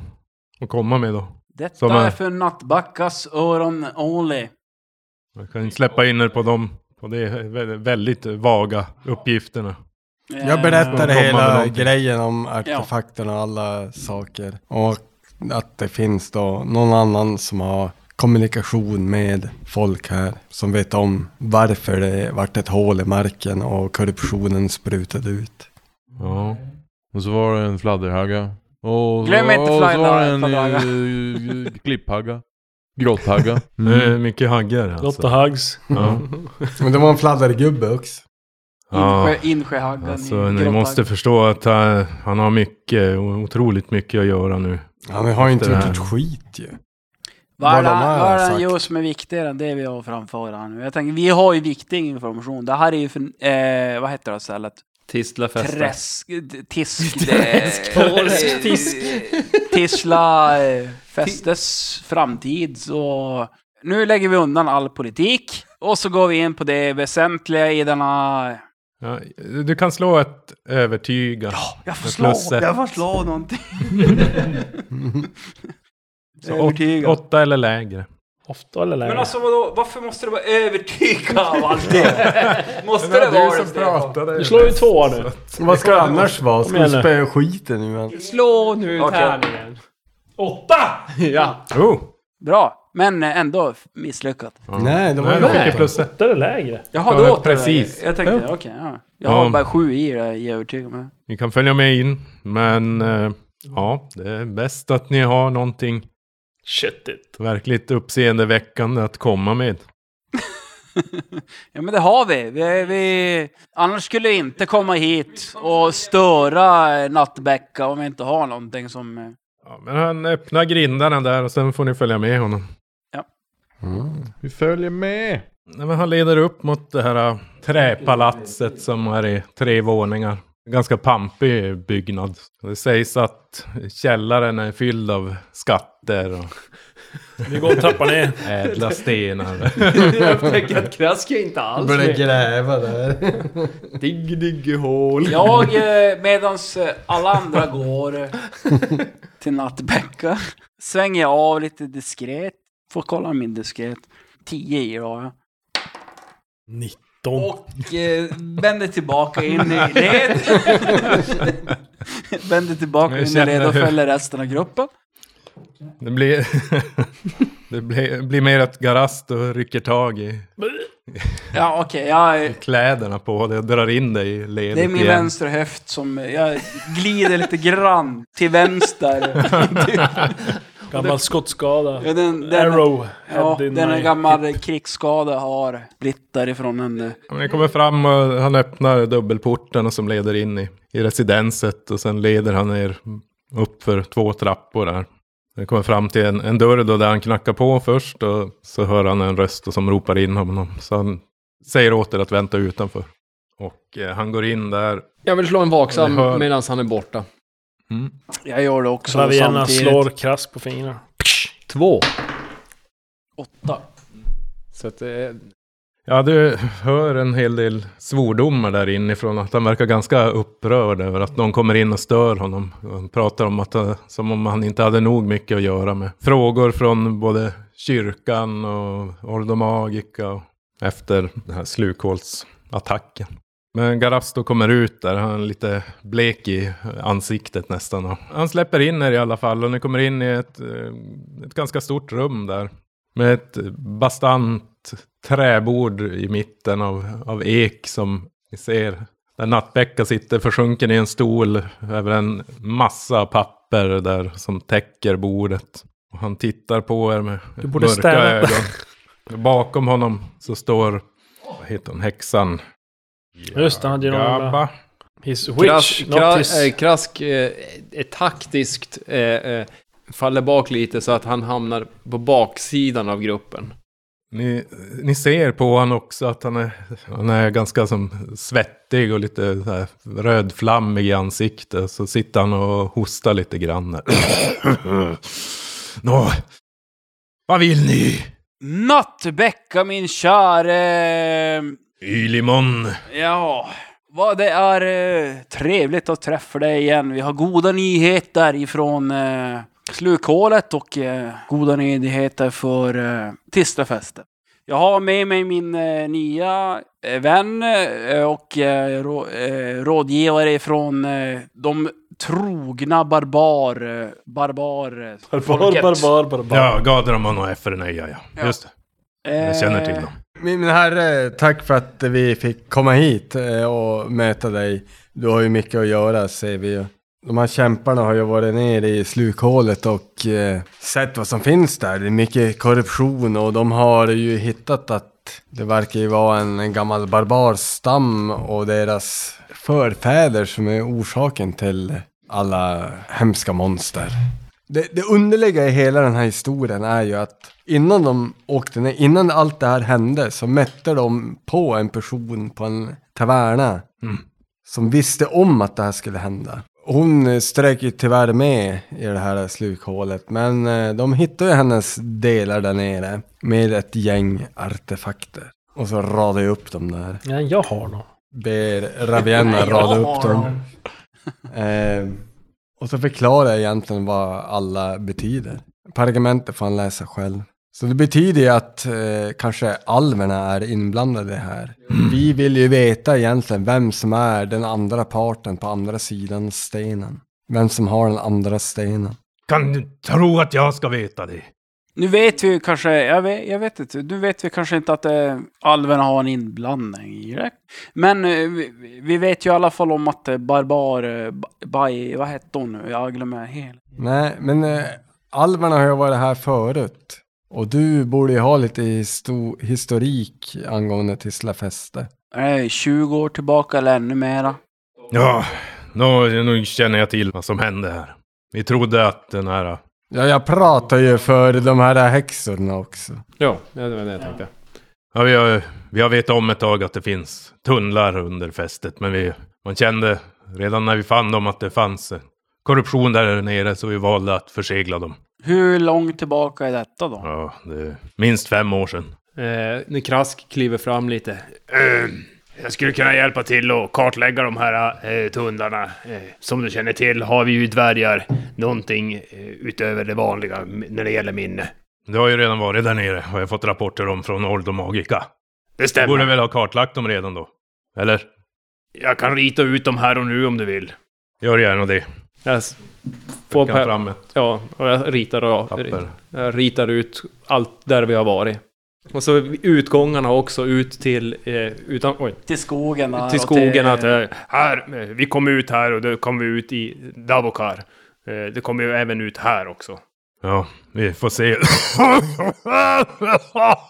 [SPEAKER 2] att komma med då?
[SPEAKER 5] Detta
[SPEAKER 2] Som
[SPEAKER 5] är
[SPEAKER 2] är-
[SPEAKER 5] för Nattbackas öron only.
[SPEAKER 2] Jag kan släppa in er på dem. På de vä- väldigt vaga uppgifterna.
[SPEAKER 5] Eh,
[SPEAKER 4] Jag berättade
[SPEAKER 2] Komma med
[SPEAKER 4] hela
[SPEAKER 2] någonting.
[SPEAKER 4] grejen om artefakterna och alla saker. Och att det finns då någon annan som har kommunikation med folk här. Som vet om varför det vart ett hål i marken och korruptionen sprutade ut.
[SPEAKER 8] Ja. Och så var det en fladderhagga. Och så,
[SPEAKER 5] Glöm inte
[SPEAKER 8] och så var det en
[SPEAKER 5] fladderhagga.
[SPEAKER 8] eh, eh, klipphagga. Grotthagga.
[SPEAKER 2] Det är mycket haggar
[SPEAKER 3] Lotta
[SPEAKER 2] alltså.
[SPEAKER 3] Hugs.
[SPEAKER 2] Ja.
[SPEAKER 4] Men det var en fladdergubbe också.
[SPEAKER 2] Ja.
[SPEAKER 5] Insjö, Insjöhaggen i
[SPEAKER 2] Alltså, ni
[SPEAKER 5] Grottan.
[SPEAKER 2] måste förstå att eh, han har mycket, otroligt mycket att göra nu.
[SPEAKER 4] Han har ju inte
[SPEAKER 2] Det
[SPEAKER 4] gjort
[SPEAKER 2] här.
[SPEAKER 4] ett skit ju.
[SPEAKER 5] Vad är
[SPEAKER 4] vad
[SPEAKER 5] det
[SPEAKER 4] de här
[SPEAKER 5] vad är
[SPEAKER 4] har
[SPEAKER 5] det
[SPEAKER 4] sagt.
[SPEAKER 5] just som är viktigare än det vi har framför här nu? Jag tänker, vi har ju viktig information. Det här är ju för, eh, vad heter det stället?
[SPEAKER 6] Tislafesten.
[SPEAKER 5] Träsk... d- Tisk... Träsk... Tisk... Tisla eh, fästes framtid. Så nu lägger vi undan all politik och så går vi in på det väsentliga i denna...
[SPEAKER 2] Ja, du kan slå ett övertyga.
[SPEAKER 5] Jag får
[SPEAKER 2] Med
[SPEAKER 5] slå!
[SPEAKER 2] plusset.
[SPEAKER 5] Jag får slå någonting!
[SPEAKER 2] Så åt,
[SPEAKER 5] Övertygad.
[SPEAKER 2] åtta eller lägre.
[SPEAKER 3] Ofta eller lägre?
[SPEAKER 5] Men alltså vadå, varför måste du vara övertygad av allt det? Måste det vara det? Stefan?
[SPEAKER 3] du slår ju två nu.
[SPEAKER 4] Vad ska det annars vara? Ska
[SPEAKER 3] igen
[SPEAKER 4] vi
[SPEAKER 3] nu.
[SPEAKER 4] spöa skiten nu? men?
[SPEAKER 6] Slå nu
[SPEAKER 5] Okej.
[SPEAKER 6] tärningen.
[SPEAKER 3] Åtta!
[SPEAKER 6] Ja.
[SPEAKER 2] Oh,
[SPEAKER 5] Bra, men ändå misslyckat.
[SPEAKER 4] Nej, det var
[SPEAKER 2] nej,
[SPEAKER 4] ju
[SPEAKER 2] du fick ju
[SPEAKER 4] bra.
[SPEAKER 2] plusset.
[SPEAKER 3] Åtta eller lägre?
[SPEAKER 5] Jaha,
[SPEAKER 2] Ja,
[SPEAKER 5] då åt
[SPEAKER 2] precis.
[SPEAKER 5] Jag, jag tänkte,
[SPEAKER 2] Ja.
[SPEAKER 5] okej, ja. Jag har
[SPEAKER 2] Ja.
[SPEAKER 5] bara sju i det, jag är övertygad med.
[SPEAKER 2] Ni kan följa med in, men eh, ja, det är bäst att ni har någonting
[SPEAKER 3] Shit it.
[SPEAKER 2] verkligt uppseendeväckande att komma med.
[SPEAKER 5] ja, men det har vi. vi, vi... Annars skulle vi inte komma hit och störa Nattbäcka om vi inte har någonting som... eh,
[SPEAKER 2] Ja, men han öppnar grindarna där och sen får ni följa med honom.
[SPEAKER 4] Mm.
[SPEAKER 8] Vi följer med!
[SPEAKER 2] Nej, men han leder upp mot det här äh, träpalatset som är i tre våningar. Ganska pampig byggnad. Det sägs att källaren är fylld av skatter och
[SPEAKER 3] Vi går och trappar ner.
[SPEAKER 2] ädla stenar.
[SPEAKER 6] Jag upptäcker att Krask är inte alls
[SPEAKER 4] Börjar
[SPEAKER 6] med.
[SPEAKER 4] gräva där.
[SPEAKER 6] Digg, digg, hål.
[SPEAKER 5] Jag, eh, medans eh, alla andra går eh, till Nattbäcka, svänger jag av lite diskret. Får kolla min diskret. 10 i har jag.
[SPEAKER 3] 19.
[SPEAKER 5] Och eh, vänder tillbaka in i led. vänder tillbaka
[SPEAKER 2] Jag
[SPEAKER 5] in i led
[SPEAKER 2] känner
[SPEAKER 5] och
[SPEAKER 2] hur-
[SPEAKER 5] följer resten av gruppen.
[SPEAKER 2] Det blir, det blir, blir mer att Garast och rycker tag i
[SPEAKER 5] Ja, okej. jag, eh,
[SPEAKER 2] kläderna på dig och drar in dig i ledet
[SPEAKER 5] det är min
[SPEAKER 2] igen.
[SPEAKER 5] vänstra höft som eh, jag glider lite grann till vänster.
[SPEAKER 3] Gammal skottskada.
[SPEAKER 5] Ja, den, den,
[SPEAKER 3] Arrow.
[SPEAKER 5] Ja,
[SPEAKER 3] head in
[SPEAKER 5] den är
[SPEAKER 3] my-
[SPEAKER 5] gammal krigsskada har blivit därifrån en... eh,
[SPEAKER 2] Ja, men Ni kommer fram och han öppnar dubbelporten och som leder in i, i residenset och sen leder han er upp för två trappor där. Ni kommer fram till en, en dörr då där han knackar på först och så hör han en röst och som ropar in honom. Så han säger åt er att vänta utanför. Och eh, han går in där.
[SPEAKER 6] Jag vill slå en
[SPEAKER 2] Ni
[SPEAKER 6] vaksam
[SPEAKER 2] hör.
[SPEAKER 6] medan han är borta.
[SPEAKER 5] Jag gör det också
[SPEAKER 3] Ravierna
[SPEAKER 5] samtidigt.
[SPEAKER 3] slår krask på fingrarna.
[SPEAKER 6] Två.
[SPEAKER 5] Åtta.
[SPEAKER 6] Så att eh, det
[SPEAKER 2] Ja, du hör en hel del svordomar där inifrån. Att han verkar ganska upprörd över att någon kommer in och stör honom. Han pratar om att han- som om han inte hade nog mycket att göra med. Frågor från både kyrkan och Ordo Magica och efter den här slukhålsattacken. Men Garasto kommer ut där, han är lite blek i ansiktet nästan. och Han släpper in er i alla fall och ni kommer in i ett, eh, ett ganska stort rum där. Med ett bastant träbord i mitten av, av ek som ni ser. Där Nattbäcka sitter försjunken i en stol över en massa papper där som täcker bordet. Och han tittar på er med
[SPEAKER 3] Du borde
[SPEAKER 2] mörka
[SPEAKER 3] städa.
[SPEAKER 2] ögon. Bakom honom så står, vad heter hon, häxan?
[SPEAKER 3] Just det, han hade ju någon jävla-
[SPEAKER 2] Gabba.
[SPEAKER 3] His
[SPEAKER 6] Krask,
[SPEAKER 3] witch, not
[SPEAKER 6] kras, eh,
[SPEAKER 3] his...
[SPEAKER 6] krask eh, är taktiskt eh, eh, faller bak lite så att han hamnar på baksidan av gruppen.
[SPEAKER 2] Ni, ni ser på honom också att han är, han är ganska som svettig och lite så här rödflammig i ansiktet. Så sitter han och hostar lite grann. där. Nå, vad vill ni?
[SPEAKER 5] Nattbäcka min käre...
[SPEAKER 2] Ylimon.
[SPEAKER 5] Ja, vad det är eh, trevligt att träffa dig igen. Vi har goda nyheter ifrån eh, slukhålet och eh, goda nyheter för eh, Tistafesten. Jag har med mig min eh, nya eh, vän eh, och eh, rå, eh, rådgivare från eh, de trogna barbar... Eh, barbar... eh.
[SPEAKER 3] Barbar, barbar, barbar.
[SPEAKER 2] Ja, Gadramon och Efreneja, ja. ja. Just det, jag känner till dem.
[SPEAKER 4] Min min herre, tack för att vi fick komma hit eh, och möta dig. Du har ju mycket att göra ser vi ju. De här kämparna har ju varit nere i slukhålet och eh, sett vad som finns där. Det är mycket korruption och de har ju hittat att det verkar ju vara en gammal barbarstam och deras förfäder som är orsaken till alla hemska monster. Det, det underliga i hela den här historien är ju att innan de åkte ner, innan allt det här hände så mötte de på en person på en taverna som visste om att det här skulle hända. Hon eh, strök ju tyvärr med i det här slukhålet men eh, de hittade ju hennes delar där nere med ett gäng artefakter. Och så radade jag upp dem där.
[SPEAKER 3] Ja, jag har dem.
[SPEAKER 4] Ber Ravienna rada upp dem. Eh, och så förklarar jag egentligen vad alla betyder. Pergamentet får han läsa själv. Så det betyder ju att eh, kanske alverna är inblandade här. Vi vill ju veta egentligen vem som är den andra parten på andra sidan stenen. Vem som har den andra stenen.
[SPEAKER 2] Kan du tro att jag ska veta det?
[SPEAKER 5] Nu vet vi ju kanske, jag vet, jag vet inte, nu vet vi kanske inte att eh, alverna har en inblandning i det. Men eh, vi, vi vet ju i alla fall om att eh, Barbar, eh, Bai, vad hette hon nu? Jag glömmer helt.
[SPEAKER 4] Nej, men eh, alverna har ju varit här förut. Och du borde ju ha lite histo- historik angående Tislafeste.
[SPEAKER 5] Nej, 20 år tillbaka eller ännu mera.
[SPEAKER 2] Ja, nu, nu känner jag till vad som hände här. Vi trodde att den här...
[SPEAKER 4] Ja, jag pratar ju för de här häxorna också.
[SPEAKER 6] Ja, det var det jag tänkte.
[SPEAKER 2] Ja, vi, har, vi har vetat om ett tag att det finns tunnlar under fästet, men vi, man kände redan när vi fann dem att det fanns eh, korruption där nere, så vi valde att försegla dem.
[SPEAKER 5] Hur långt tillbaka är detta då?
[SPEAKER 2] Ja, det är minst fem år sedan.
[SPEAKER 6] Eh, när Krask kliver fram lite.
[SPEAKER 7] Eh, Jag skulle kunna hjälpa till och kartlägga de här eh, tunnlarna. Eh, som du känner till har vi ju dvärgar någonting eh, utöver det vanliga m- när det gäller minne.
[SPEAKER 2] Det har ju redan varit där nere, har jag fått rapporter om från Ordo Magica.
[SPEAKER 7] Det
[SPEAKER 2] Du borde
[SPEAKER 7] stämmer.
[SPEAKER 2] väl ha kartlagt dem redan då? Eller?
[SPEAKER 7] Jag kan rita ut dem här och nu om du vill.
[SPEAKER 2] Gör gärna det.
[SPEAKER 6] Jag s- får
[SPEAKER 2] Kan
[SPEAKER 6] pa-
[SPEAKER 2] fram ett
[SPEAKER 6] ja, och jag ritar, av,
[SPEAKER 2] papper.
[SPEAKER 6] jag ritar ut allt där vi har varit. Och så utgångarna också ut till... Eh, utan, oj,
[SPEAKER 5] Till skogen där
[SPEAKER 6] till
[SPEAKER 5] och
[SPEAKER 6] skogen. Att, eh,
[SPEAKER 7] Eh, här, eh, vi kom ut här och då kom vi ut i Davokar. Eh, det kommer ju även ut här också.
[SPEAKER 2] Ja, vi får se.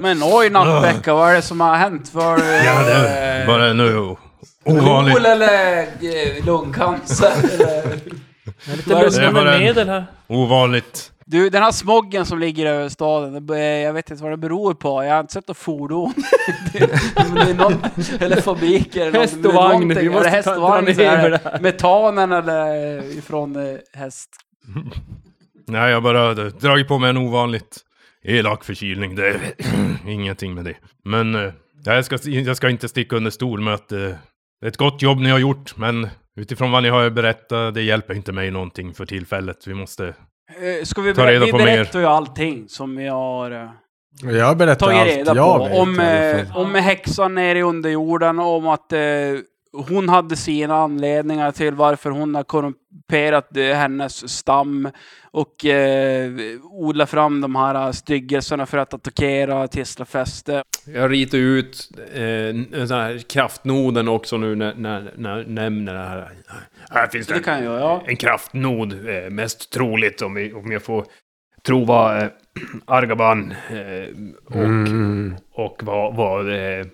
[SPEAKER 5] Men oj Nattbäcka, vad är det som har hänt? Var det...
[SPEAKER 2] Ja, det är bara nu o- ovanligt.
[SPEAKER 5] Kol eller eh, lungcancer? eller-
[SPEAKER 3] Lite
[SPEAKER 5] Vad är det
[SPEAKER 2] som händer?
[SPEAKER 3] lugnande medel här.
[SPEAKER 2] Ovanligt.
[SPEAKER 5] Du, den här smoggen som ligger över staden, det, be- jag vet inte vad det beror på. Jag har inte sett något fordon. det, det är någon, eller fabriker. eller
[SPEAKER 6] Häst
[SPEAKER 5] något-
[SPEAKER 6] och vagn,
[SPEAKER 5] någonting.
[SPEAKER 6] vi
[SPEAKER 5] Ja, det är
[SPEAKER 6] måste
[SPEAKER 5] häst
[SPEAKER 6] ta-
[SPEAKER 5] och
[SPEAKER 6] ta
[SPEAKER 5] vagn.
[SPEAKER 6] ner
[SPEAKER 5] så
[SPEAKER 6] med
[SPEAKER 5] här.
[SPEAKER 6] det här.
[SPEAKER 5] Metanen eller eh, ifrån eh, häst.
[SPEAKER 2] Nej, jag bara hade dragit på mig en ovanligt elak förkylning. Det är ingenting med det. Men eh, jag, ska, jag ska inte sticka under stol med att eh, det är ett gott jobb ni har gjort, men utifrån vad ni har berättat, det hjälper inte mig någonting för tillfället. Vi måste...
[SPEAKER 5] Eh, Ska vi,
[SPEAKER 2] Ta
[SPEAKER 5] berä-
[SPEAKER 2] reda
[SPEAKER 5] vi
[SPEAKER 2] på
[SPEAKER 5] berättar ju allting som vi har eh,
[SPEAKER 4] Och Jag berättar
[SPEAKER 5] tagit
[SPEAKER 4] allt
[SPEAKER 5] reda
[SPEAKER 4] jag
[SPEAKER 5] på.
[SPEAKER 4] vet
[SPEAKER 5] Om,
[SPEAKER 4] i alla
[SPEAKER 5] eh,
[SPEAKER 4] fall.
[SPEAKER 5] om häxan nere i underjorden, om att eh, hon hade sina anledningar till varför hon har korrumperat eh, hennes stam och eh, odlat fram de här eh, styggelserna för att attackera Tislafäste.
[SPEAKER 6] jag ritar ut eh, en sån här kraftnoden också nu när, när, när jag nämner det här.
[SPEAKER 7] Här finns
[SPEAKER 5] Det
[SPEAKER 7] det
[SPEAKER 5] kan jag, ja.
[SPEAKER 7] en kraftnod, eh, mest troligt om, vi, om jag får tro vad eh, Argaban eh, och,
[SPEAKER 4] Mm.
[SPEAKER 7] och vad, vad eh,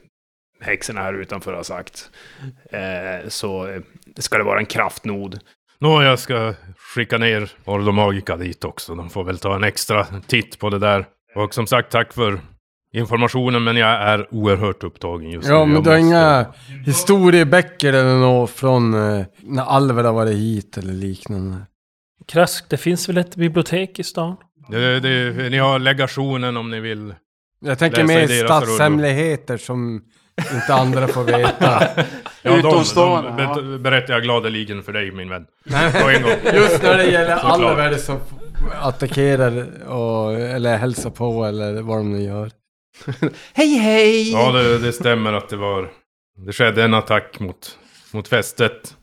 [SPEAKER 7] häxorna här utanför har sagt. Eh, så eh, ska det vara en kraftnod.
[SPEAKER 2] Nå, jag ska skicka ner Ordo Magica dit också. De får väl ta en extra titt på det där. Och som sagt, tack för informationen, men jag är oerhört upptagen just nu.
[SPEAKER 4] Ja, men
[SPEAKER 2] Jag
[SPEAKER 4] du har
[SPEAKER 2] måste-
[SPEAKER 4] inga historieböcker eller något från eh, när alver har varit hit eller liknande.
[SPEAKER 3] Krask, det finns väl ett bibliotek i stan?
[SPEAKER 2] Det, det, ni har legationen om ni vill.
[SPEAKER 4] Jag tänker
[SPEAKER 2] Läsa i
[SPEAKER 4] mer
[SPEAKER 2] deras rullor.
[SPEAKER 4] statshemligheter som inte andra får veta.
[SPEAKER 2] de-
[SPEAKER 5] Utomstående,
[SPEAKER 2] de bet- berättar jag gladeligen för dig min vän. På en gång.
[SPEAKER 4] Just när det gäller
[SPEAKER 2] Såklart.
[SPEAKER 4] alver som f- attackerar och, eller hälsar på eller vad de nu gör.
[SPEAKER 6] Hej hej!
[SPEAKER 2] Ja, det, det stämmer att det var... Det skedde en attack mot, mot fästet.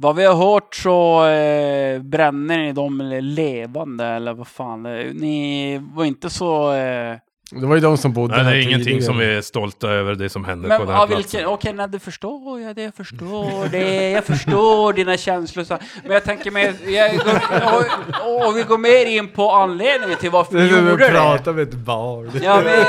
[SPEAKER 5] Vad vi har hört så eh, bränner ni dem levande eller vad fan. eh, Ni var inte så... Eh,
[SPEAKER 4] Det var ju de som bodde
[SPEAKER 2] Nej, det
[SPEAKER 4] här
[SPEAKER 2] är ingenting
[SPEAKER 4] tidigare.
[SPEAKER 2] som vi är stolta över, det som hände på
[SPEAKER 5] Men
[SPEAKER 2] den här
[SPEAKER 5] av
[SPEAKER 2] platsen.
[SPEAKER 5] vilken, okej, nej, det förstår jag, det jag förstår det, jag förstår dina känslor. så- Men jag tänker mer, jag, och, och vi går mer in på anledningen till varför
[SPEAKER 4] Det är
[SPEAKER 5] vi
[SPEAKER 4] som
[SPEAKER 5] gjorde
[SPEAKER 4] att
[SPEAKER 5] det.
[SPEAKER 4] prata med ett barn.
[SPEAKER 5] Ja, men,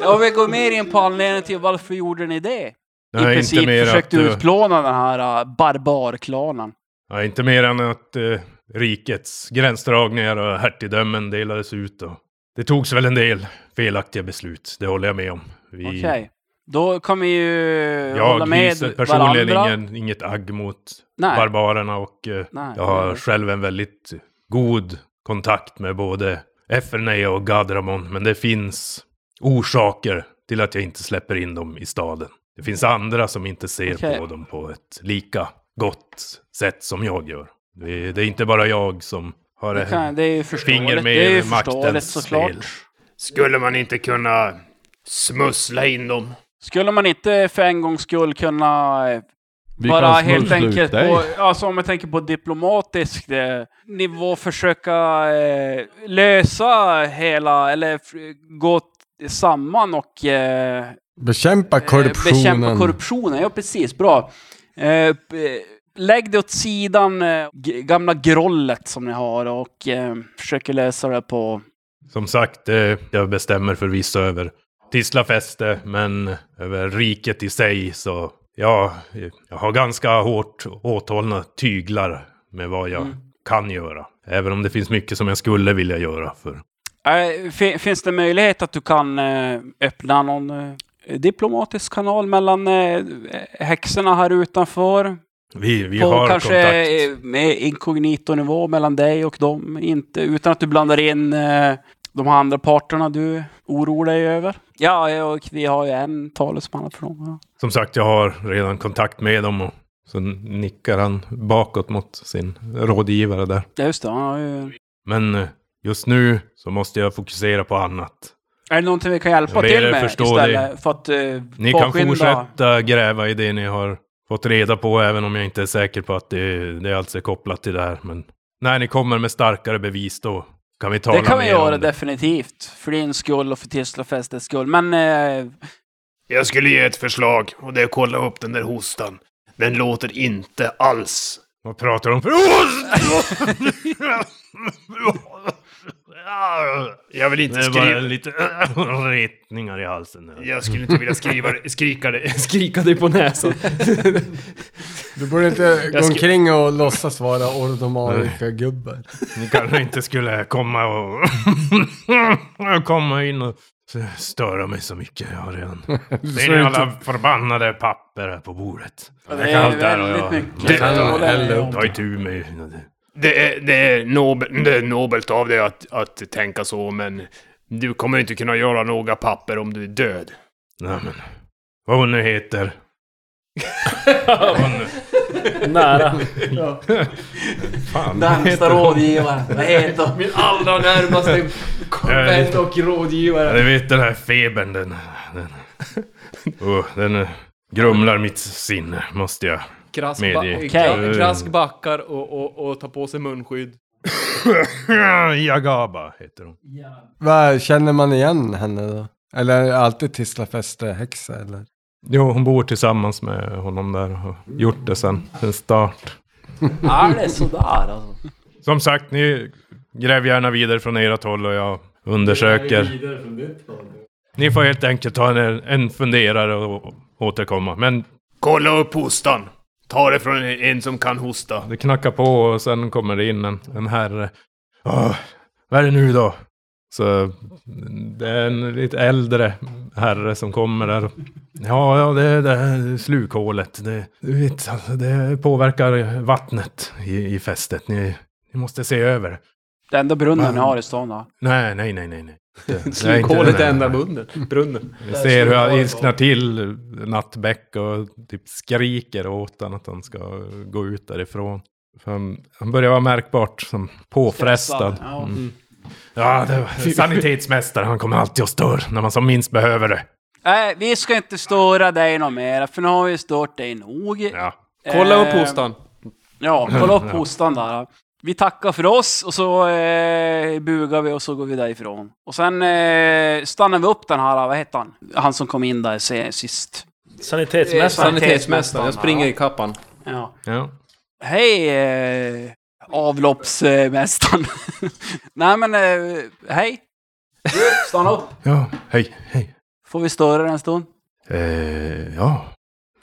[SPEAKER 5] ja, vi går mer in på anledningen till varför gjorde ni det?
[SPEAKER 2] Nej,
[SPEAKER 5] I princip försökte
[SPEAKER 2] att, eh,
[SPEAKER 5] utplåna den här uh, barbarklanen.
[SPEAKER 2] ja, inte mer än att eh, rikets gränsdragningar och hertigdömen delades ut. Och det togs väl en del felaktiga beslut, det håller jag med om. Vi,
[SPEAKER 5] Okej. Då kan vi ju hålla
[SPEAKER 2] Jag
[SPEAKER 5] med
[SPEAKER 2] hyser personligen
[SPEAKER 5] varandra.
[SPEAKER 2] ingen, inget agg mot
[SPEAKER 5] Nej.
[SPEAKER 2] barbarerna och eh,
[SPEAKER 5] Nej.
[SPEAKER 2] jag har själv en väldigt god kontakt med både Efferneja och Gadramon, men det finns orsaker till att jag inte släpper in dem i staden. Det finns andra som inte ser
[SPEAKER 5] Okej.
[SPEAKER 2] på dem på ett lika gott sätt som jag gör. Det är, det är inte bara jag som har
[SPEAKER 5] Det, kan, det är ju förståeligt.
[SPEAKER 2] finger med
[SPEAKER 5] Det är ju
[SPEAKER 2] i maktens
[SPEAKER 5] förståeligt såklart.
[SPEAKER 2] spel.
[SPEAKER 7] Skulle man inte kunna smussla in dem?
[SPEAKER 5] Skulle man inte för en gångs skull kunna eh,
[SPEAKER 8] Vi
[SPEAKER 5] bara
[SPEAKER 8] kan
[SPEAKER 5] helt
[SPEAKER 8] smussla ut
[SPEAKER 5] enkelt
[SPEAKER 8] dig.
[SPEAKER 5] på, alltså om jag tänker på diplomatisk eh, nivå försöka eh, lösa hela, eller f- gå t- samman och eh,
[SPEAKER 4] Bekämpa
[SPEAKER 5] eh,
[SPEAKER 4] korruptionen.
[SPEAKER 5] bekämpa korruptionen. Ja, precis. Bra. Eh, p- eh, lägg det åt sidan, eh, g- gamla grollet som ni har och eh, försöker lösa det på
[SPEAKER 2] Som sagt, eh, jag bestämmer förvisso över Tisla fäste, men över riket i sig så... Ja, eh, jag har ganska hårt åthållna tyglar med vad jag
[SPEAKER 5] Mm.
[SPEAKER 2] kan göra. Även om det finns mycket som jag skulle vilja göra för.
[SPEAKER 5] Eh, fi- finns det möjlighet att du kan eh, öppna någon eh, diplomatisk kanal mellan eh, häxorna här utanför?
[SPEAKER 2] Vi, vi
[SPEAKER 5] på
[SPEAKER 2] har
[SPEAKER 5] kanske
[SPEAKER 2] kontakt.
[SPEAKER 5] eh, med inkognito-nivå mellan dig och dem. Inte, utan att du blandar in eh, de här andra parterna du oroar dig över. Ja, eh, och vi har ju en talesman för dem. Ja.
[SPEAKER 2] Som sagt, jag har redan kontakt med dem. Och så nickar han bakåt mot sin rådgivare där.
[SPEAKER 5] Ja, just det. Han har ju...
[SPEAKER 2] Men eh, just nu så måste jag fokusera på annat.
[SPEAKER 5] Är det någonting vi kan hjälpa
[SPEAKER 2] Jag ber
[SPEAKER 5] till
[SPEAKER 2] er
[SPEAKER 5] med
[SPEAKER 2] förstå
[SPEAKER 5] istället? För att eh,
[SPEAKER 2] Ni kan
[SPEAKER 5] påskynda-
[SPEAKER 2] fortsätta gräva i det ni har fått reda på, även om jag inte är säker på att det, det alls är kopplat till det här. Men när ni kommer med starkare bevis då kan vi tala
[SPEAKER 5] Det kan vi
[SPEAKER 2] mer
[SPEAKER 5] göra
[SPEAKER 2] om det.
[SPEAKER 5] definitivt. För din skull och för Tislafestets skull. Men eh,
[SPEAKER 7] Jag skulle ge ett förslag och det är att kolla upp den där hostan. Den låter inte alls.
[SPEAKER 2] Vad pratar de för?
[SPEAKER 7] Jag vill
[SPEAKER 2] Det
[SPEAKER 7] inte
[SPEAKER 2] är bara
[SPEAKER 7] skriva...
[SPEAKER 2] lite retningar i halsen. nu.
[SPEAKER 7] Jag skulle inte vilja skriva, skrika, det, skrika dig på näsan.
[SPEAKER 4] Du borde inte gå
[SPEAKER 7] ska-
[SPEAKER 4] omkring och låtsas vara ordomarica-gubbe.
[SPEAKER 2] Ni kanske inte skulle komma och komma in och störa mig så mycket. Jag har redan... Det är ni alla förbannade papper här på bordet.
[SPEAKER 5] det
[SPEAKER 2] kan
[SPEAKER 5] är
[SPEAKER 2] allt det här och jag-
[SPEAKER 5] väldigt mycket.
[SPEAKER 7] Det-
[SPEAKER 5] att hålla
[SPEAKER 4] Eller-
[SPEAKER 5] om.
[SPEAKER 2] Ta itu med...
[SPEAKER 7] Det är, det är, nobel, det är nobelt av dig att, att tänka så, men du kommer inte kunna göra några papper om du är död.
[SPEAKER 2] Nej, men... Vad hon nu heter.
[SPEAKER 3] Nära.
[SPEAKER 5] Närmsta rådgivare. Vad heter hon?
[SPEAKER 6] Min allra närmaste
[SPEAKER 2] vän
[SPEAKER 6] och rådgivare.
[SPEAKER 2] Du vet den här febern, den... Den, Åh, den eh, grumlar mitt sinne, måste jag.
[SPEAKER 6] Krask,
[SPEAKER 2] Medie.
[SPEAKER 6] ba-
[SPEAKER 2] Okej.
[SPEAKER 6] krask backar och, och, och tar på sig munskydd.
[SPEAKER 2] Jagaba heter hon.
[SPEAKER 4] Vad Känner man igen henne då? Eller är det alltid Tislafeste häxa eller?
[SPEAKER 2] Jo, hon bor tillsammans med honom där och har gjort det sen, sen start.
[SPEAKER 5] Är det sådär alltså?
[SPEAKER 2] Som sagt, ni gräv gärna vidare från ert håll och jag undersöker. Ni får helt enkelt ta en, en funderare och återkomma. Men
[SPEAKER 7] Kolla upp hostan! Ta det från en- en som kan hosta.
[SPEAKER 2] det knackar på och sen kommer det in en, en herre. Åh, vad är det nu då? Så det är en lite äldre herre som kommer där. Ja, ja, det är det här slukhålet. Det, du vet, alltså, det påverkar vattnet i, i fästet. Ni, ni måste se över det.
[SPEAKER 5] Det enda brunnen ni har i stan då?
[SPEAKER 2] Nej, nej, nej, nej. nej. Det- det är inte
[SPEAKER 6] Slukhålet
[SPEAKER 2] den
[SPEAKER 6] är
[SPEAKER 2] här.
[SPEAKER 6] enda bunden. brunnen.
[SPEAKER 2] Vi ser hur han ilsknar till Nattbäck och typ skriker åt honom att han ska gå ut därifrån. För han, han börjar vara märkbart som påfrestad.
[SPEAKER 5] Stressad, ja.
[SPEAKER 2] Mm. Ja, det var sanitetsmästare. Han kommer alltid och stör när man som minst behöver det.
[SPEAKER 5] Nej, vi ska inte störa dig någon mer, för nu har vi stört dig nog.
[SPEAKER 2] Ja.
[SPEAKER 6] Kolla upp
[SPEAKER 5] Eh,
[SPEAKER 6] hostan.
[SPEAKER 5] Ja, kolla upp hostan där. Vi tackar för oss och så eh, bugar vi och så går vi därifrån. Och sen eh, stannar vi upp den här, vad heter han? Han som kom in där se- sist.
[SPEAKER 3] Sanitetsmästaren.
[SPEAKER 6] Sanitetsmästaren. Jag springer i kappan.
[SPEAKER 5] Ja.
[SPEAKER 2] ja.
[SPEAKER 5] Hej eh, avloppsmästaren. Nej men, eh, hej. Du, Stanna upp.
[SPEAKER 2] Ja, hej, hej.
[SPEAKER 5] Får vi störa dig en stund?
[SPEAKER 2] Eh, ja,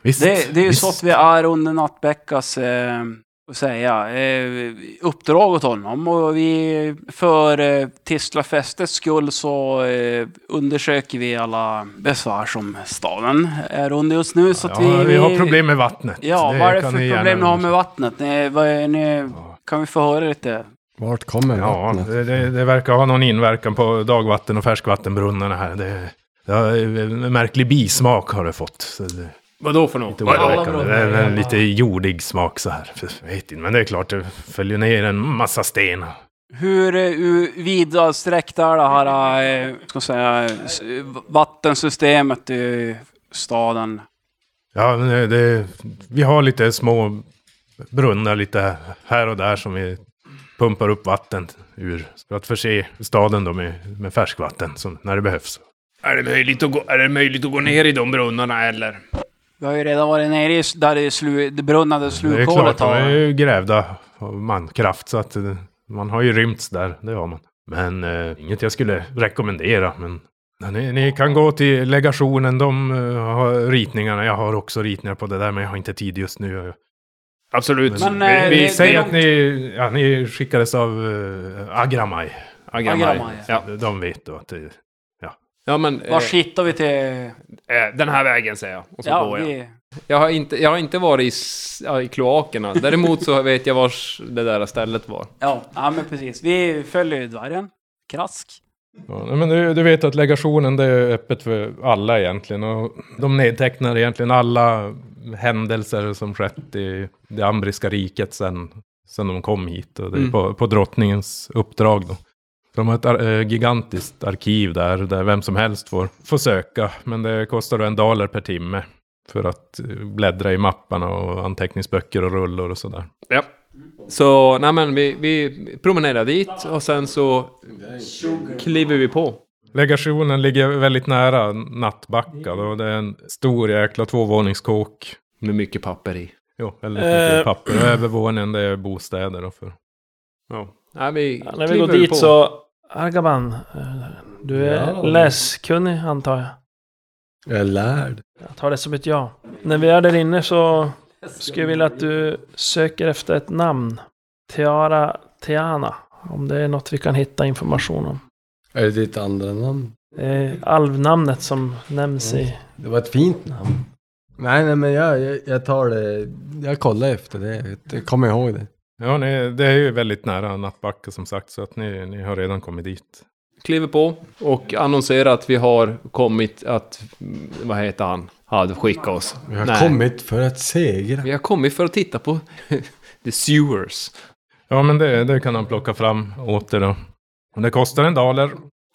[SPEAKER 2] visst.
[SPEAKER 5] Det, det är ju
[SPEAKER 2] visst.
[SPEAKER 5] så att vi är under Nattbäckas eh, vad säga, eh, uppdrag åt honom. Och vi, för eh, Tislafestets skull så eh, undersöker vi alla besvär som staden är under just nu. Så att
[SPEAKER 2] ja,
[SPEAKER 5] vi,
[SPEAKER 2] vi, har problem med vattnet.
[SPEAKER 5] Ja, vad är det
[SPEAKER 2] kan
[SPEAKER 5] för
[SPEAKER 2] ni gärna
[SPEAKER 5] problem ni har med vattnet? Ni, vad är, ni,
[SPEAKER 2] Ja.
[SPEAKER 5] kan vi få höra lite?
[SPEAKER 4] Vart kommer
[SPEAKER 2] Ja,
[SPEAKER 4] vattnet?
[SPEAKER 2] det, det, det verkar ha någon inverkan på dagvatten och färskvattenbrunnarna här. Det, det har, en märklig bismak har det fått. Så det,
[SPEAKER 7] Vad då för något?
[SPEAKER 2] lite
[SPEAKER 7] Vad-
[SPEAKER 2] oroväckande. Det är en lite jordig smak så här. Jag vet inte, men det är klart, det följer ner en massa sten.
[SPEAKER 5] Hur eh, u- vidsträckt är det här eh, ska jag säga, s- vattensystemet i staden?
[SPEAKER 2] Ja, men det, det, vi har lite små brunnar lite här och där som vi pumpar upp vatten ur. För att förse staden då med, med färskvatten som, när det behövs.
[SPEAKER 7] Är det, möjligt att gå, är det möjligt att gå ner i de brunnarna eller?
[SPEAKER 5] Vi har ju redan varit nere i, där det, är slu, det brunnade
[SPEAKER 2] Det är klart,
[SPEAKER 5] slukhålet
[SPEAKER 2] de är
[SPEAKER 5] har.
[SPEAKER 2] ju grävda av mankraft så att eh, man har ju rymts där, det har man. Men eh, inget jag skulle rekommendera. Men Ja, ni, ni kan gå till legationen. De eh, har ritningarna. Jag har också ritningar på det där, men jag har inte tid just nu.
[SPEAKER 7] Absolut.
[SPEAKER 5] Men,
[SPEAKER 7] vi,
[SPEAKER 5] eh, det-
[SPEAKER 7] vi,
[SPEAKER 2] Vi
[SPEAKER 5] det-
[SPEAKER 2] säger
[SPEAKER 5] är
[SPEAKER 2] att ni, ja, ni skickades av eh, Agramaj.
[SPEAKER 6] Agramaj.
[SPEAKER 5] Agramaj,
[SPEAKER 7] ja.
[SPEAKER 2] De vet då att det...
[SPEAKER 6] Ja, men, eh,
[SPEAKER 5] Var hittar vi till...
[SPEAKER 7] eh, den här vägen säger jag. Och så
[SPEAKER 5] Ja,
[SPEAKER 7] går jag.
[SPEAKER 5] vi...
[SPEAKER 6] jag, har inte, jag har inte varit i, s- ja, i kloakerna. Däremot så vet jag vars det där stället var.
[SPEAKER 5] Ja, ja, men precis. Vi följer ju dvärgen. Krask.
[SPEAKER 2] Ja, nej, men du, du vet att legationen det är öppet för alla egentligen. Och de nedtecknar egentligen alla händelser som skett i det ambriska riket sen, sen de kom hit. Och det är
[SPEAKER 6] Mm.
[SPEAKER 2] på, på drottningens uppdrag då. De har ett ar- eh, gigantiskt arkiv där, där vem som helst får, får söka. Men det kostar då en daler per timme. För att eh, bläddra i mapparna och anteckningsböcker och rullor och sådär.
[SPEAKER 7] Ja.
[SPEAKER 6] Så nej, men vi, vi promenerar dit och sen så kliver vi på.
[SPEAKER 2] Legationen ligger väldigt nära Nattbacka. Då. Det är en stor jäkla tvåvåningskåk.
[SPEAKER 6] Med mycket papper i.
[SPEAKER 2] Jo, väldigt mycket
[SPEAKER 3] Eh.
[SPEAKER 2] papper. Och övervåningen det är bostäder. Då för.
[SPEAKER 6] Ja. Nej, vi
[SPEAKER 3] Ja, när vi
[SPEAKER 6] kliver
[SPEAKER 3] går dit
[SPEAKER 6] på.
[SPEAKER 3] så... Argaban, eh, du är
[SPEAKER 4] Ja.
[SPEAKER 3] läskunnig antar jag.
[SPEAKER 4] Jag är lärd.
[SPEAKER 3] Jag tar det som ett ja. När vi är där inne så skulle jag vilja att du söker efter ett namn. Tiara Tiana. Om det är något vi kan hitta information om.
[SPEAKER 4] Är det ditt andra namn?
[SPEAKER 3] Det är alvnamnet som nämns i...
[SPEAKER 4] Det var ett fint namn. Nej, nej, men jag, jag, jag tar det. Jag kollar efter det. Jag kommer ihåg det.
[SPEAKER 2] Ja, ni, det är ju väldigt nära Nattbacka som sagt. Så att ni, ni har redan kommit dit.
[SPEAKER 6] kliver på och annonserar att vi har kommit att... mm, Vad heter han? Hade skickat oss.
[SPEAKER 4] Vi har
[SPEAKER 6] Nej.
[SPEAKER 4] kommit för att segra.
[SPEAKER 6] Vi har kommit för att titta på the sewers.
[SPEAKER 2] Ja, men det, det kan han plocka fram åter då. Och det kostar en daler.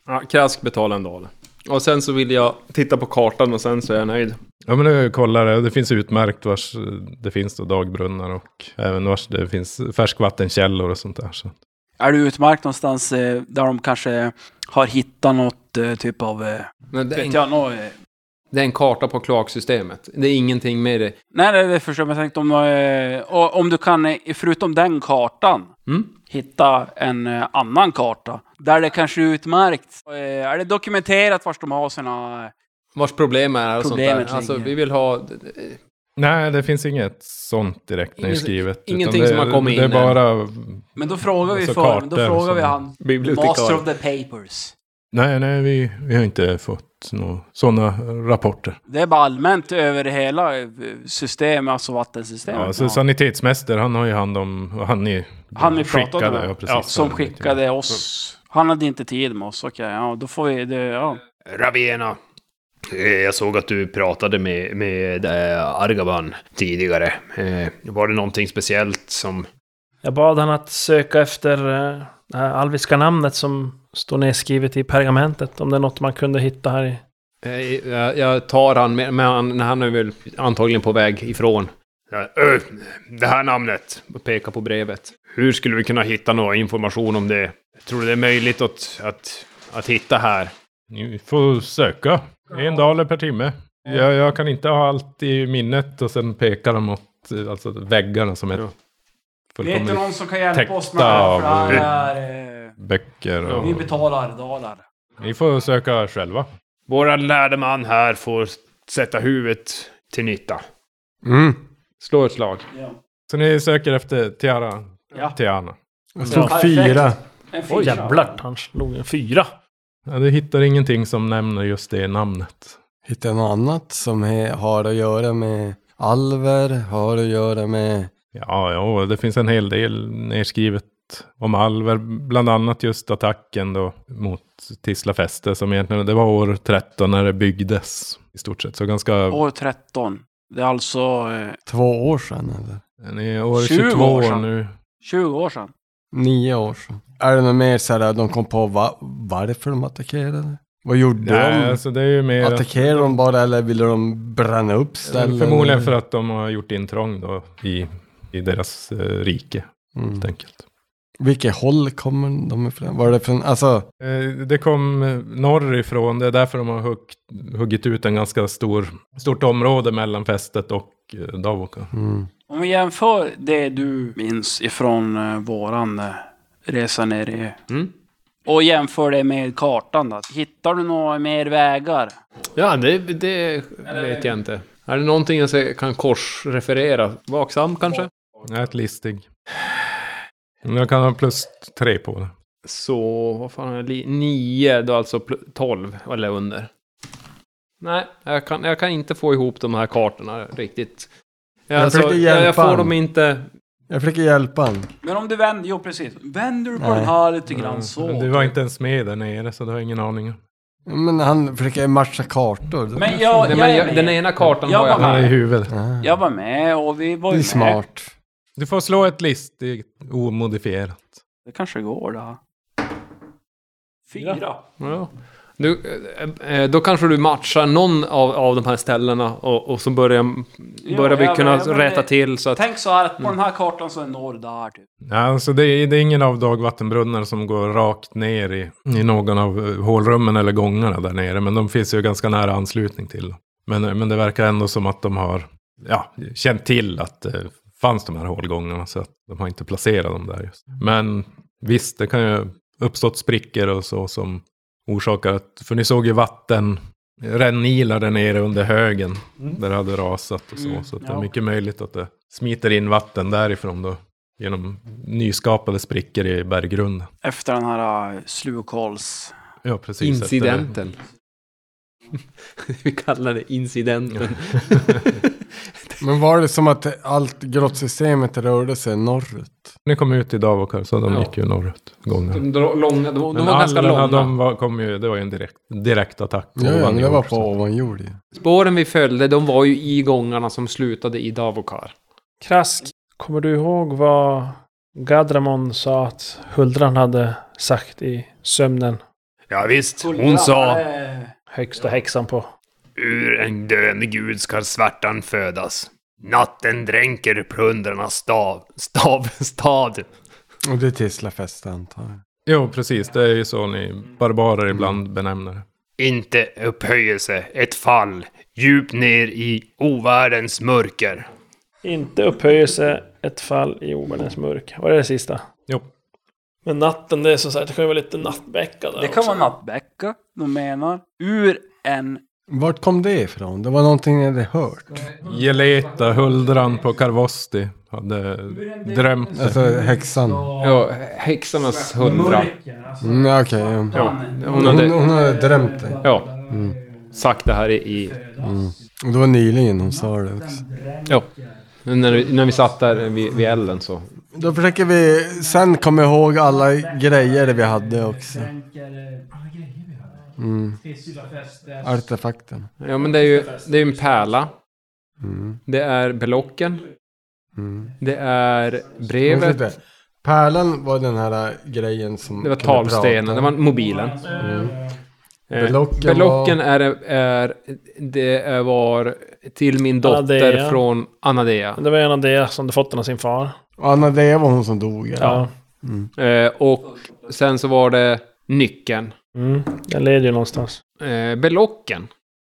[SPEAKER 6] Ja, krask betalar en dollar. Och sen så vill jag titta på kartan och sen så är jag nöjd.
[SPEAKER 2] Ja, men nu kollar det. Det finns utmärkt vars eh, det finns då dagbrunnar och även vars det finns färskvattenkällor och sånt där. Så.
[SPEAKER 5] Är du utmärkt någonstans eh, där de kanske har hittat något eh, typ av... eh,
[SPEAKER 6] Men det, är en,
[SPEAKER 5] Vet jag, nå, eh,
[SPEAKER 6] det är en karta på kloaksystemet. Det är ingenting med det.
[SPEAKER 5] Nej, nej, det förstår jag. Men jag tänkte om, eh, och om du kan, eh, förutom den kartan,
[SPEAKER 6] Mm?
[SPEAKER 5] hitta en eh, annan karta. Där det kanske är utmärkt. Eh, Är det dokumenterat vart de har sina... eh,
[SPEAKER 6] Vars problem är och sånt
[SPEAKER 5] Problemet
[SPEAKER 6] där. Alltså,
[SPEAKER 5] ligger.
[SPEAKER 6] vi vill ha...
[SPEAKER 2] Nej, det finns inget sånt direkt
[SPEAKER 6] Ingen-
[SPEAKER 2] nedskrivet. utan
[SPEAKER 6] ingenting
[SPEAKER 2] det,
[SPEAKER 6] som har kommit
[SPEAKER 2] Det är
[SPEAKER 6] in
[SPEAKER 2] bara...
[SPEAKER 5] Men då frågar vi
[SPEAKER 2] Alltså
[SPEAKER 5] för, då
[SPEAKER 2] kartor
[SPEAKER 5] frågar vi
[SPEAKER 2] som-
[SPEAKER 5] han. Master of
[SPEAKER 6] Bibliotekar.
[SPEAKER 5] the papers.
[SPEAKER 2] Nej, nej, vi, vi har inte fått några sådana rapporter.
[SPEAKER 5] Det är bara allmänt över hela eh, systemet, alltså vattensystemet.
[SPEAKER 2] Ja, så sanitetsmäster, han har ju hand om... och Han är,
[SPEAKER 5] Han vi pratade
[SPEAKER 2] skickade,
[SPEAKER 5] med.
[SPEAKER 2] ja, precis,
[SPEAKER 5] som
[SPEAKER 2] han är lite-
[SPEAKER 5] skickade oss. Han hade inte tid med oss. Okej, ja, då får vi... Det, ja.
[SPEAKER 7] Ravena. eh, Jag såg att du pratade med, med eh, Argaban tidigare. Eh, Var det någonting speciellt som...
[SPEAKER 3] Jag bad han att söka efter eh, det här alviska namnet som står nedskrivet i pergamentet. Om det är något man kunde hitta här i...
[SPEAKER 6] Eh, Jag, jag tar han, med- men han, han är väl antagligen på väg ifrån.
[SPEAKER 7] Ja, ö, Det här namnet.
[SPEAKER 6] Och pekar på brevet.
[SPEAKER 7] Hur skulle vi kunna hitta någon information om det? Tror du det är möjligt att, att, att hitta här?
[SPEAKER 2] Ni får söka. En daler per timme. Jag, jag kan inte ha allt i minnet och sen pekar de mot eh, alltså, väggarna som är
[SPEAKER 6] Ja.
[SPEAKER 5] Vet du
[SPEAKER 2] fullkomligt
[SPEAKER 5] någon som kan hjälpa oss
[SPEAKER 2] täckta
[SPEAKER 5] med det här? För
[SPEAKER 2] av-
[SPEAKER 5] det här är, eh,
[SPEAKER 2] böcker. Och...
[SPEAKER 5] vi betalar dalar.
[SPEAKER 2] Ni får söka själva.
[SPEAKER 7] Våra lärde man här får sätta huvudet till nytta.
[SPEAKER 4] Mm.
[SPEAKER 6] Slå ett slag.
[SPEAKER 2] Så ni söker efter Tiara?
[SPEAKER 5] Ja.
[SPEAKER 2] Tiana.
[SPEAKER 4] Jag slog
[SPEAKER 5] Perfekt.
[SPEAKER 4] fyra.
[SPEAKER 5] En fyra.
[SPEAKER 3] Oj, jävlar! Han slog en fyra.
[SPEAKER 2] Ja, du hittar ingenting som nämner just det namnet.
[SPEAKER 4] Hitta något annat som he, har att göra med alver, har att göra med...
[SPEAKER 2] Ja, ja, det finns en hel del nedskrivet om Alver, bland annat just attacken då mot Tislafäste som egentligen, det var år 13 när det byggdes i stort sett. Så ganska,
[SPEAKER 5] År 13. Det är alltså eh,
[SPEAKER 4] Två år sedan eller?
[SPEAKER 2] ni är år
[SPEAKER 5] 20
[SPEAKER 2] 22
[SPEAKER 5] år
[SPEAKER 2] år
[SPEAKER 5] sedan.
[SPEAKER 2] nu.
[SPEAKER 5] 20 år sedan.
[SPEAKER 4] Nio år sedan. Är det något mer så här att de kom på va, varför de attackerade? Vad gjorde
[SPEAKER 2] Nej,
[SPEAKER 4] de?
[SPEAKER 2] alltså det är ju mer att-
[SPEAKER 4] Attackerade de bara eller ville de bränna upp ställen?
[SPEAKER 2] förmodligen
[SPEAKER 4] eller?
[SPEAKER 2] för att de har gjort intrång då i, i deras eh, rike
[SPEAKER 4] Mm.
[SPEAKER 2] helt enkelt.
[SPEAKER 4] Vilket håll kommer de ifrån? Var det från, alltså,
[SPEAKER 2] Eh, Det kom eh, norrifrån, det är därför de har hugg- huggit ut en ganska stor, stort område mellan fästet och eh, Davoka.
[SPEAKER 4] mm.
[SPEAKER 5] Om vi jämför det du minns ifrån eh, våran eh, resa ner i
[SPEAKER 6] Mm.
[SPEAKER 5] Och jämför det med kartan då. Hittar du några mer vägar?
[SPEAKER 6] Ja, det, det vet jag inte. Är det någonting jag se- kan korsreferera? Vaksam kanske?
[SPEAKER 2] Ät listig. Men Jag kan ha plus tre på det.
[SPEAKER 6] Så, vad fan är det? Li- Nio, då alltså pl- tolv, eller under. Nej, jag kan, jag kan inte få ihop de här kartorna riktigt. Jag,
[SPEAKER 4] Jag
[SPEAKER 6] alltså,
[SPEAKER 4] försökte
[SPEAKER 6] jag, jag
[SPEAKER 4] hjälpa
[SPEAKER 6] får
[SPEAKER 4] han.
[SPEAKER 6] dem inte...
[SPEAKER 4] Jag försöker hjälpa han.
[SPEAKER 5] Men om du vänder, jo precis. Vänder du på
[SPEAKER 4] Nej.
[SPEAKER 5] den här lite grann så.
[SPEAKER 2] Men Mm. Du var inte ens med där nere så du har ingen aning.
[SPEAKER 4] Ja, Men han försöker matcha kartor.
[SPEAKER 5] Men jag,
[SPEAKER 6] Nej,
[SPEAKER 5] jag,
[SPEAKER 6] men
[SPEAKER 5] är
[SPEAKER 6] jag,
[SPEAKER 5] med.
[SPEAKER 6] den ena kartan
[SPEAKER 5] Jag
[SPEAKER 6] har jag
[SPEAKER 5] var
[SPEAKER 2] Han
[SPEAKER 6] här.
[SPEAKER 2] är i huvudet.
[SPEAKER 4] Ah,
[SPEAKER 5] jag var med och vi var
[SPEAKER 4] det är
[SPEAKER 5] ju med.
[SPEAKER 4] smart.
[SPEAKER 2] Du får slå ett listigt omodifierat.
[SPEAKER 5] Det kanske går då. Fyra.
[SPEAKER 6] Ja. Du, eh, eh, då kanske du matchar någon av, av de här ställena och, och så börjar,
[SPEAKER 5] Ja,
[SPEAKER 6] börjar vi
[SPEAKER 5] ja,
[SPEAKER 6] kunna
[SPEAKER 5] men- men
[SPEAKER 6] rätta
[SPEAKER 5] det-
[SPEAKER 6] till så att...
[SPEAKER 5] Tänk så här att på
[SPEAKER 6] Mm.
[SPEAKER 5] den här kartan så är norr där typ.
[SPEAKER 2] Ja, alltså det, är, det är ingen av dagvattenbrunnarna som går rakt ner i, i någon av eh, hålrummen eller gångarna där nere. Men de finns ju ganska nära anslutning till. dem. Men, eh, men det verkar ändå som att de har ja, känt till att det fanns de här hålgångarna. Så att de har inte placerat dem där just. Men visst, det kan ju uppstått sprickor och så som orsakar att... För ni såg ju vatten, rännilar där nere under högen. Där det hade rasat och så.
[SPEAKER 5] Mm,
[SPEAKER 2] så att det
[SPEAKER 5] ja.
[SPEAKER 2] är mycket möjligt att det smiter in vatten därifrån då. Genom nyskapade sprickor i berggrunden.
[SPEAKER 5] Efter den här uh, slukholls...
[SPEAKER 2] Ja, precis.
[SPEAKER 6] Incidenten. vi kallar det incidenten.
[SPEAKER 4] Men var det som att allt grottsystemet rörde sig norrut?
[SPEAKER 2] Ni kom ut i Davokar så de
[SPEAKER 6] Ja.
[SPEAKER 2] gick ju norrut gången.
[SPEAKER 6] De, dro- långa, de, de
[SPEAKER 2] Men
[SPEAKER 6] var ganska
[SPEAKER 2] alla
[SPEAKER 6] långa.
[SPEAKER 2] De var, kom ju, det var ju en direkt, direkt attack.
[SPEAKER 4] Ja, ja, men det
[SPEAKER 2] ovanjord,
[SPEAKER 4] var på
[SPEAKER 2] så.
[SPEAKER 4] ovanjord ju.
[SPEAKER 6] Spåren vi följde, de var ju i gångarna som slutade i Davokar.
[SPEAKER 3] Krask, kommer du ihåg vad Gadramon sa att Huldran hade sagt i sömnen?
[SPEAKER 7] Ja, visst, hon sa
[SPEAKER 5] eh,
[SPEAKER 3] Högsta häxan på.
[SPEAKER 7] ur en döende gud ska svärtan födas. Natten dränker plundrarnas stav, stav, stad.
[SPEAKER 4] Och det är Tislafest antar jag.
[SPEAKER 2] Jo, precis. Det är ju så ni barbarer ibland
[SPEAKER 4] Mm.
[SPEAKER 2] benämner det.
[SPEAKER 7] Inte upphöjelse, ett fall, djupt ner i ovärldens mörker.
[SPEAKER 3] Inte upphöjelse, ett fall i omänens mörk. Var det det sista?
[SPEAKER 2] Jo.
[SPEAKER 3] Men natten, det är så här, det kan ju vara lite nattbäcka där
[SPEAKER 5] Det kan vara nattbäcka, de menar. Ur en...
[SPEAKER 4] Vart kom det ifrån? Det var någonting jag hade hört.
[SPEAKER 2] Geleta, huldran på Karvosti, hade drömt det.
[SPEAKER 4] Alltså häxan.
[SPEAKER 6] Ja, häxornas hundra.
[SPEAKER 4] Mm, Okej. ja.
[SPEAKER 6] Ja, hon
[SPEAKER 4] Hon,
[SPEAKER 6] hade
[SPEAKER 4] hon hade drömt det. Mm,
[SPEAKER 6] ja, sagt det här i... i
[SPEAKER 4] Och det var nyligen hon sa det också.
[SPEAKER 6] ja. När, vi- när vi satt där vid, vid elden så...
[SPEAKER 4] Då försöker vi sen komma ihåg alla grejer vi hade också. Mm. Artefakten.
[SPEAKER 6] Ja, men det är ju det är ju en pärla.
[SPEAKER 4] Mm.
[SPEAKER 6] Det är belocken.
[SPEAKER 4] Mm.
[SPEAKER 6] Det är
[SPEAKER 4] Men
[SPEAKER 6] brevet.
[SPEAKER 4] titta, Pärlan var den här grejen som...
[SPEAKER 6] Det var
[SPEAKER 4] kunde prata.
[SPEAKER 6] talstenen. Det var mobilen.
[SPEAKER 4] Mm.
[SPEAKER 6] Eh,
[SPEAKER 4] Belocken
[SPEAKER 6] Belocken är, är... Det är var till min dotter
[SPEAKER 3] Anadea.
[SPEAKER 6] från Anadea.
[SPEAKER 3] Det var en av det som du fått den av sin far.
[SPEAKER 4] Och Anna, det var hon som dog. Mm. eller?
[SPEAKER 3] Ja.
[SPEAKER 6] Eh, och sen så var det nyckeln.
[SPEAKER 3] Mm. Den leder ju någonstans.
[SPEAKER 6] Eh, belocken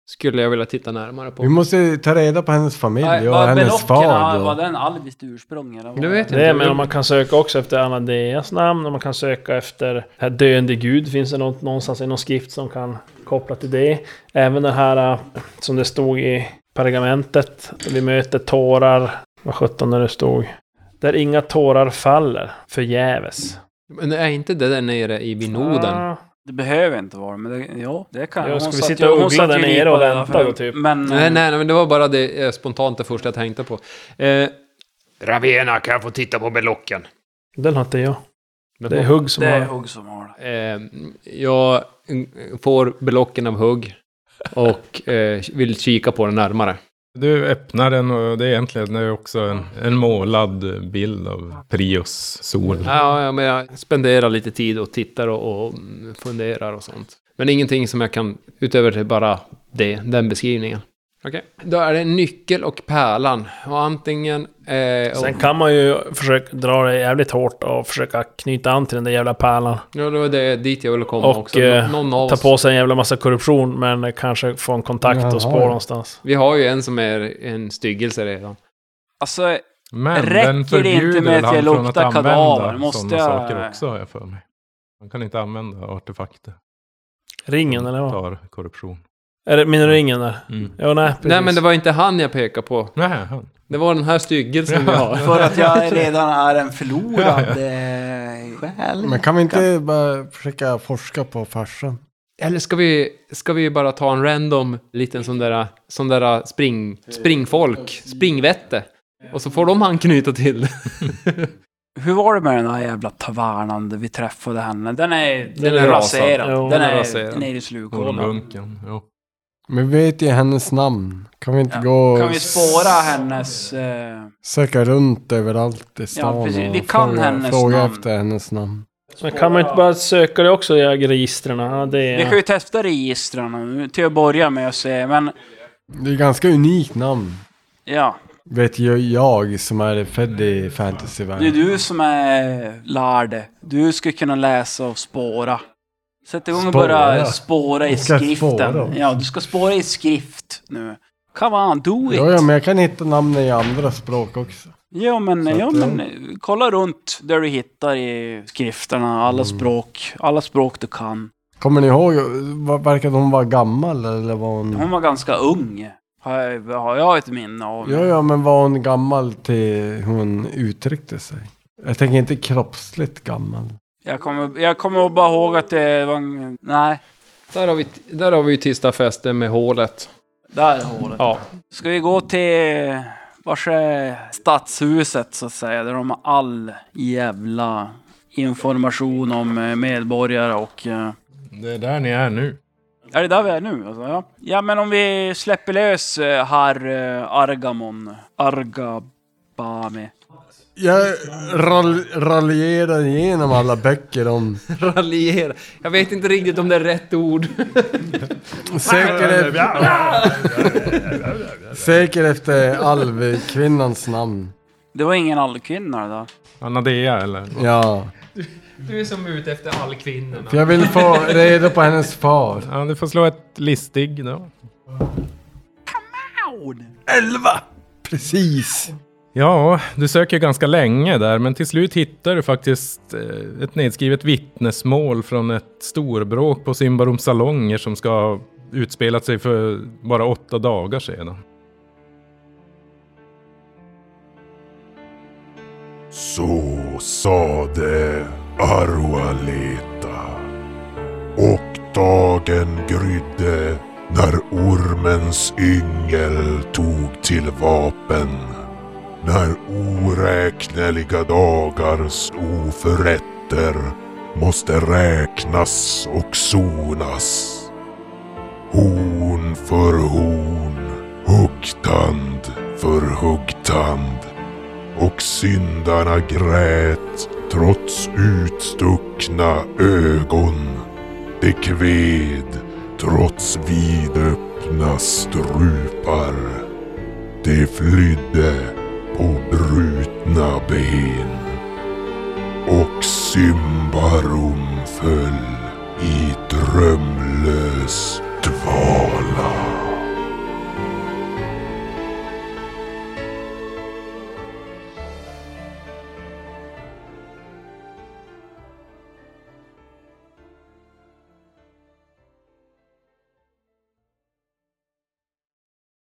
[SPEAKER 6] skulle jag vilja titta närmare
[SPEAKER 4] Vi
[SPEAKER 6] på.
[SPEAKER 4] måste ju ta reda på hennes familj och
[SPEAKER 5] Var
[SPEAKER 4] hennes
[SPEAKER 5] belocken,
[SPEAKER 4] far.
[SPEAKER 5] ah, Var
[SPEAKER 4] då.
[SPEAKER 5] den alviskt ursprung eller? vad?
[SPEAKER 6] Det vet jag
[SPEAKER 3] Det är
[SPEAKER 6] inte.
[SPEAKER 3] men om man kan söka också efter Anadeas namn, om man kan söka efter det här döende gud, finns det något, någonstans i någon skrift som kan koppla till det? Även den här äh, som det stod i pergamentet, vi möter tårar, vad sjutton när det stod? Där inga tårar faller förgäves.
[SPEAKER 6] Men är inte det där nere i Vinoden?
[SPEAKER 3] Ah,
[SPEAKER 5] Det behöver inte vara, men det, ja, det kan
[SPEAKER 3] Ja,
[SPEAKER 5] hon
[SPEAKER 3] ska vi
[SPEAKER 5] satt
[SPEAKER 3] sitta
[SPEAKER 5] ju-
[SPEAKER 3] och
[SPEAKER 5] hon
[SPEAKER 3] googla
[SPEAKER 5] satt
[SPEAKER 3] där
[SPEAKER 5] ju
[SPEAKER 3] nere
[SPEAKER 5] dit på
[SPEAKER 3] och
[SPEAKER 5] det
[SPEAKER 3] vänta
[SPEAKER 5] för-
[SPEAKER 3] då, typ?
[SPEAKER 5] Men,
[SPEAKER 6] Nej,
[SPEAKER 5] eh,
[SPEAKER 6] nej, men det var bara det eh, spontant det första jag tänkte på. Eh,
[SPEAKER 7] Ravena, kan jag få titta på belocken?
[SPEAKER 3] Den har inte jag. Det är
[SPEAKER 6] eh,
[SPEAKER 3] hugg som
[SPEAKER 5] Det är
[SPEAKER 3] har...
[SPEAKER 5] hugg som har det.
[SPEAKER 6] jag mm, får belocken av hugg och eh, vill kika på den närmare.
[SPEAKER 2] Du öppnar den och det är egentligen det är också en, en målad bild av Prius sol.
[SPEAKER 6] Ja, ja, men jag spenderar lite tid och tittar och, och mm, funderar och sånt. Men ingenting som jag kan, utöver det, bara det, den beskrivningen. Okej. Då är det nyckel och pärlan. Och antingen... Eh, och,
[SPEAKER 3] Sen kan man ju försöka dra det jävligt hårt och försöka knyta an till den där jävla pärlan.
[SPEAKER 6] ja, det var det, dit jag ville komma
[SPEAKER 3] Och,
[SPEAKER 6] också.
[SPEAKER 3] eh,
[SPEAKER 6] Någon av
[SPEAKER 3] Ta
[SPEAKER 6] oss.
[SPEAKER 3] på sig en jävla massa korruption, men kanske få en kontakt
[SPEAKER 4] Jaha.
[SPEAKER 3] och spår någonstans.
[SPEAKER 6] Vi har ju en som är en styggelse redan.
[SPEAKER 5] Alltså,
[SPEAKER 2] Men
[SPEAKER 5] Räcker
[SPEAKER 2] den
[SPEAKER 5] det inte
[SPEAKER 2] förbjuder
[SPEAKER 5] med
[SPEAKER 2] väl
[SPEAKER 5] att jag
[SPEAKER 2] han från att
[SPEAKER 5] luktar
[SPEAKER 2] använda
[SPEAKER 5] kadaver? Måste
[SPEAKER 2] sådana
[SPEAKER 5] jag-
[SPEAKER 2] saker också har jag för mig. Man kan inte använda artefakter.
[SPEAKER 3] Ringen
[SPEAKER 2] Mm.
[SPEAKER 3] eller vad?
[SPEAKER 2] Tar korruption.
[SPEAKER 3] Är det, menar du ringen där?
[SPEAKER 2] Mm.
[SPEAKER 3] Ja, nej, precis.
[SPEAKER 6] Nej, men det var inte han jag pekade på.
[SPEAKER 2] Nej, han.
[SPEAKER 6] Det var den här styggelsen vi har.
[SPEAKER 5] För att jag redan är en förlorad eh, själ.
[SPEAKER 4] Men kan vi inte bara försöka forska på farsan?
[SPEAKER 6] Eller ska vi, ska vi bara ta en random liten sån där, sån där spring, springfolk, springvette? Och så får de anknyta till det.
[SPEAKER 5] Hur var det med den här jävla tavernan där vi träffade henne? Den är, den
[SPEAKER 6] är
[SPEAKER 5] är
[SPEAKER 6] rasad.
[SPEAKER 5] raserad.
[SPEAKER 3] Jo,
[SPEAKER 5] den
[SPEAKER 6] den är
[SPEAKER 5] är,
[SPEAKER 6] raserad.
[SPEAKER 5] den är i slukhålan.
[SPEAKER 2] Bunken. Jo.
[SPEAKER 4] Men vi vet ju hennes namn. Kan vi inte
[SPEAKER 5] Ja.
[SPEAKER 4] gå och
[SPEAKER 5] Kan vi spåra
[SPEAKER 4] s-
[SPEAKER 5] hennes... Eh,
[SPEAKER 4] Söka runt överallt i stan
[SPEAKER 5] precis. Vi
[SPEAKER 4] och
[SPEAKER 5] kan
[SPEAKER 4] fråga,
[SPEAKER 5] hennes
[SPEAKER 4] fråga
[SPEAKER 5] namn.
[SPEAKER 4] efter hennes namn?
[SPEAKER 3] Men kan man inte bara söka det också i registren? Ja, det
[SPEAKER 5] Vi kan ju
[SPEAKER 3] är...
[SPEAKER 5] testa registren nu, till att börja med och se, men
[SPEAKER 4] Det är ganska unikt namn.
[SPEAKER 5] ja.
[SPEAKER 4] Vet ju jag som är född i
[SPEAKER 5] Det är
[SPEAKER 4] fantasyvärlden.
[SPEAKER 5] du som är lärd. Du ska kunna läsa och spåra. Sätt igång och
[SPEAKER 4] Spåra?
[SPEAKER 5] börja spåra i
[SPEAKER 4] Jag ska spåra
[SPEAKER 5] skriften.
[SPEAKER 4] också.
[SPEAKER 5] Ja, du ska spåra i skrift nu. Come on, do it!
[SPEAKER 4] Ja, ja, men jag kan hitta namnen i andra språk också.
[SPEAKER 5] Ja, men,
[SPEAKER 4] Så att,
[SPEAKER 5] ja,
[SPEAKER 4] ja.
[SPEAKER 5] men eh, kolla runt där du hittar i skrifterna, alla
[SPEAKER 4] Mm.
[SPEAKER 5] språk, alla språk du kan.
[SPEAKER 4] Kommer ni ihåg, va- verkade hon vara gammal eller var hon...
[SPEAKER 5] Hon var ganska ung, har jag, har jag ett minne av.
[SPEAKER 4] Ja, ja, men var hon gammal till hur hon uttryckte sig? Jag tänker inte kroppsligt gammal.
[SPEAKER 5] Jag, kommer, jag kommer bara ihåg att det var en... Nej,
[SPEAKER 6] Där har vi, där har vi ju tisdagfesten med hålet.
[SPEAKER 5] där är hålet.
[SPEAKER 6] Ja.
[SPEAKER 5] Ska vi gå till vars är stadshuset så att säga, där de har all jävla information om eh, medborgare och... eh,
[SPEAKER 2] Det är där ni är nu.
[SPEAKER 5] Är det där vi är nu? Alltså, ja. ja, men om vi släpper lös eh, herr eh, Argamon, Argabame.
[SPEAKER 4] Jag ral- raljerar igenom alla böcker om...
[SPEAKER 6] Raljera. Jag vet inte riktigt om det är rätt ord.
[SPEAKER 4] Söker, efter söker efter alvkvinnans namn.
[SPEAKER 5] Det var ingen allkvinna det där.
[SPEAKER 2] Anadea eller?
[SPEAKER 4] Ja,
[SPEAKER 6] Du är som ute efter all kvinnorna.
[SPEAKER 4] för jag vill få reda på hennes far.
[SPEAKER 2] Ja, du får slå ett listig då.
[SPEAKER 4] Precis.
[SPEAKER 2] Ja, du söker ganska länge där, men till slut hittar du faktiskt eh, ett nedskrivet vittnesmål från ett storbråk på Symbaroms salonger som ska ha utspelat sig för bara åtta dagar sedan.
[SPEAKER 1] Så sade Arvaleta. Och dagen grydde när ormens yngel tog till vapen. När oräkneliga dagars oförrätter måste räknas och sonas. Horn för horn, huggtand för huggtand och syndarna grät trots utstuckna ögon. Det kved trots vidöppna strupar. Det flydde på brutna ben. Och Symbarum föll i drömlös dvala.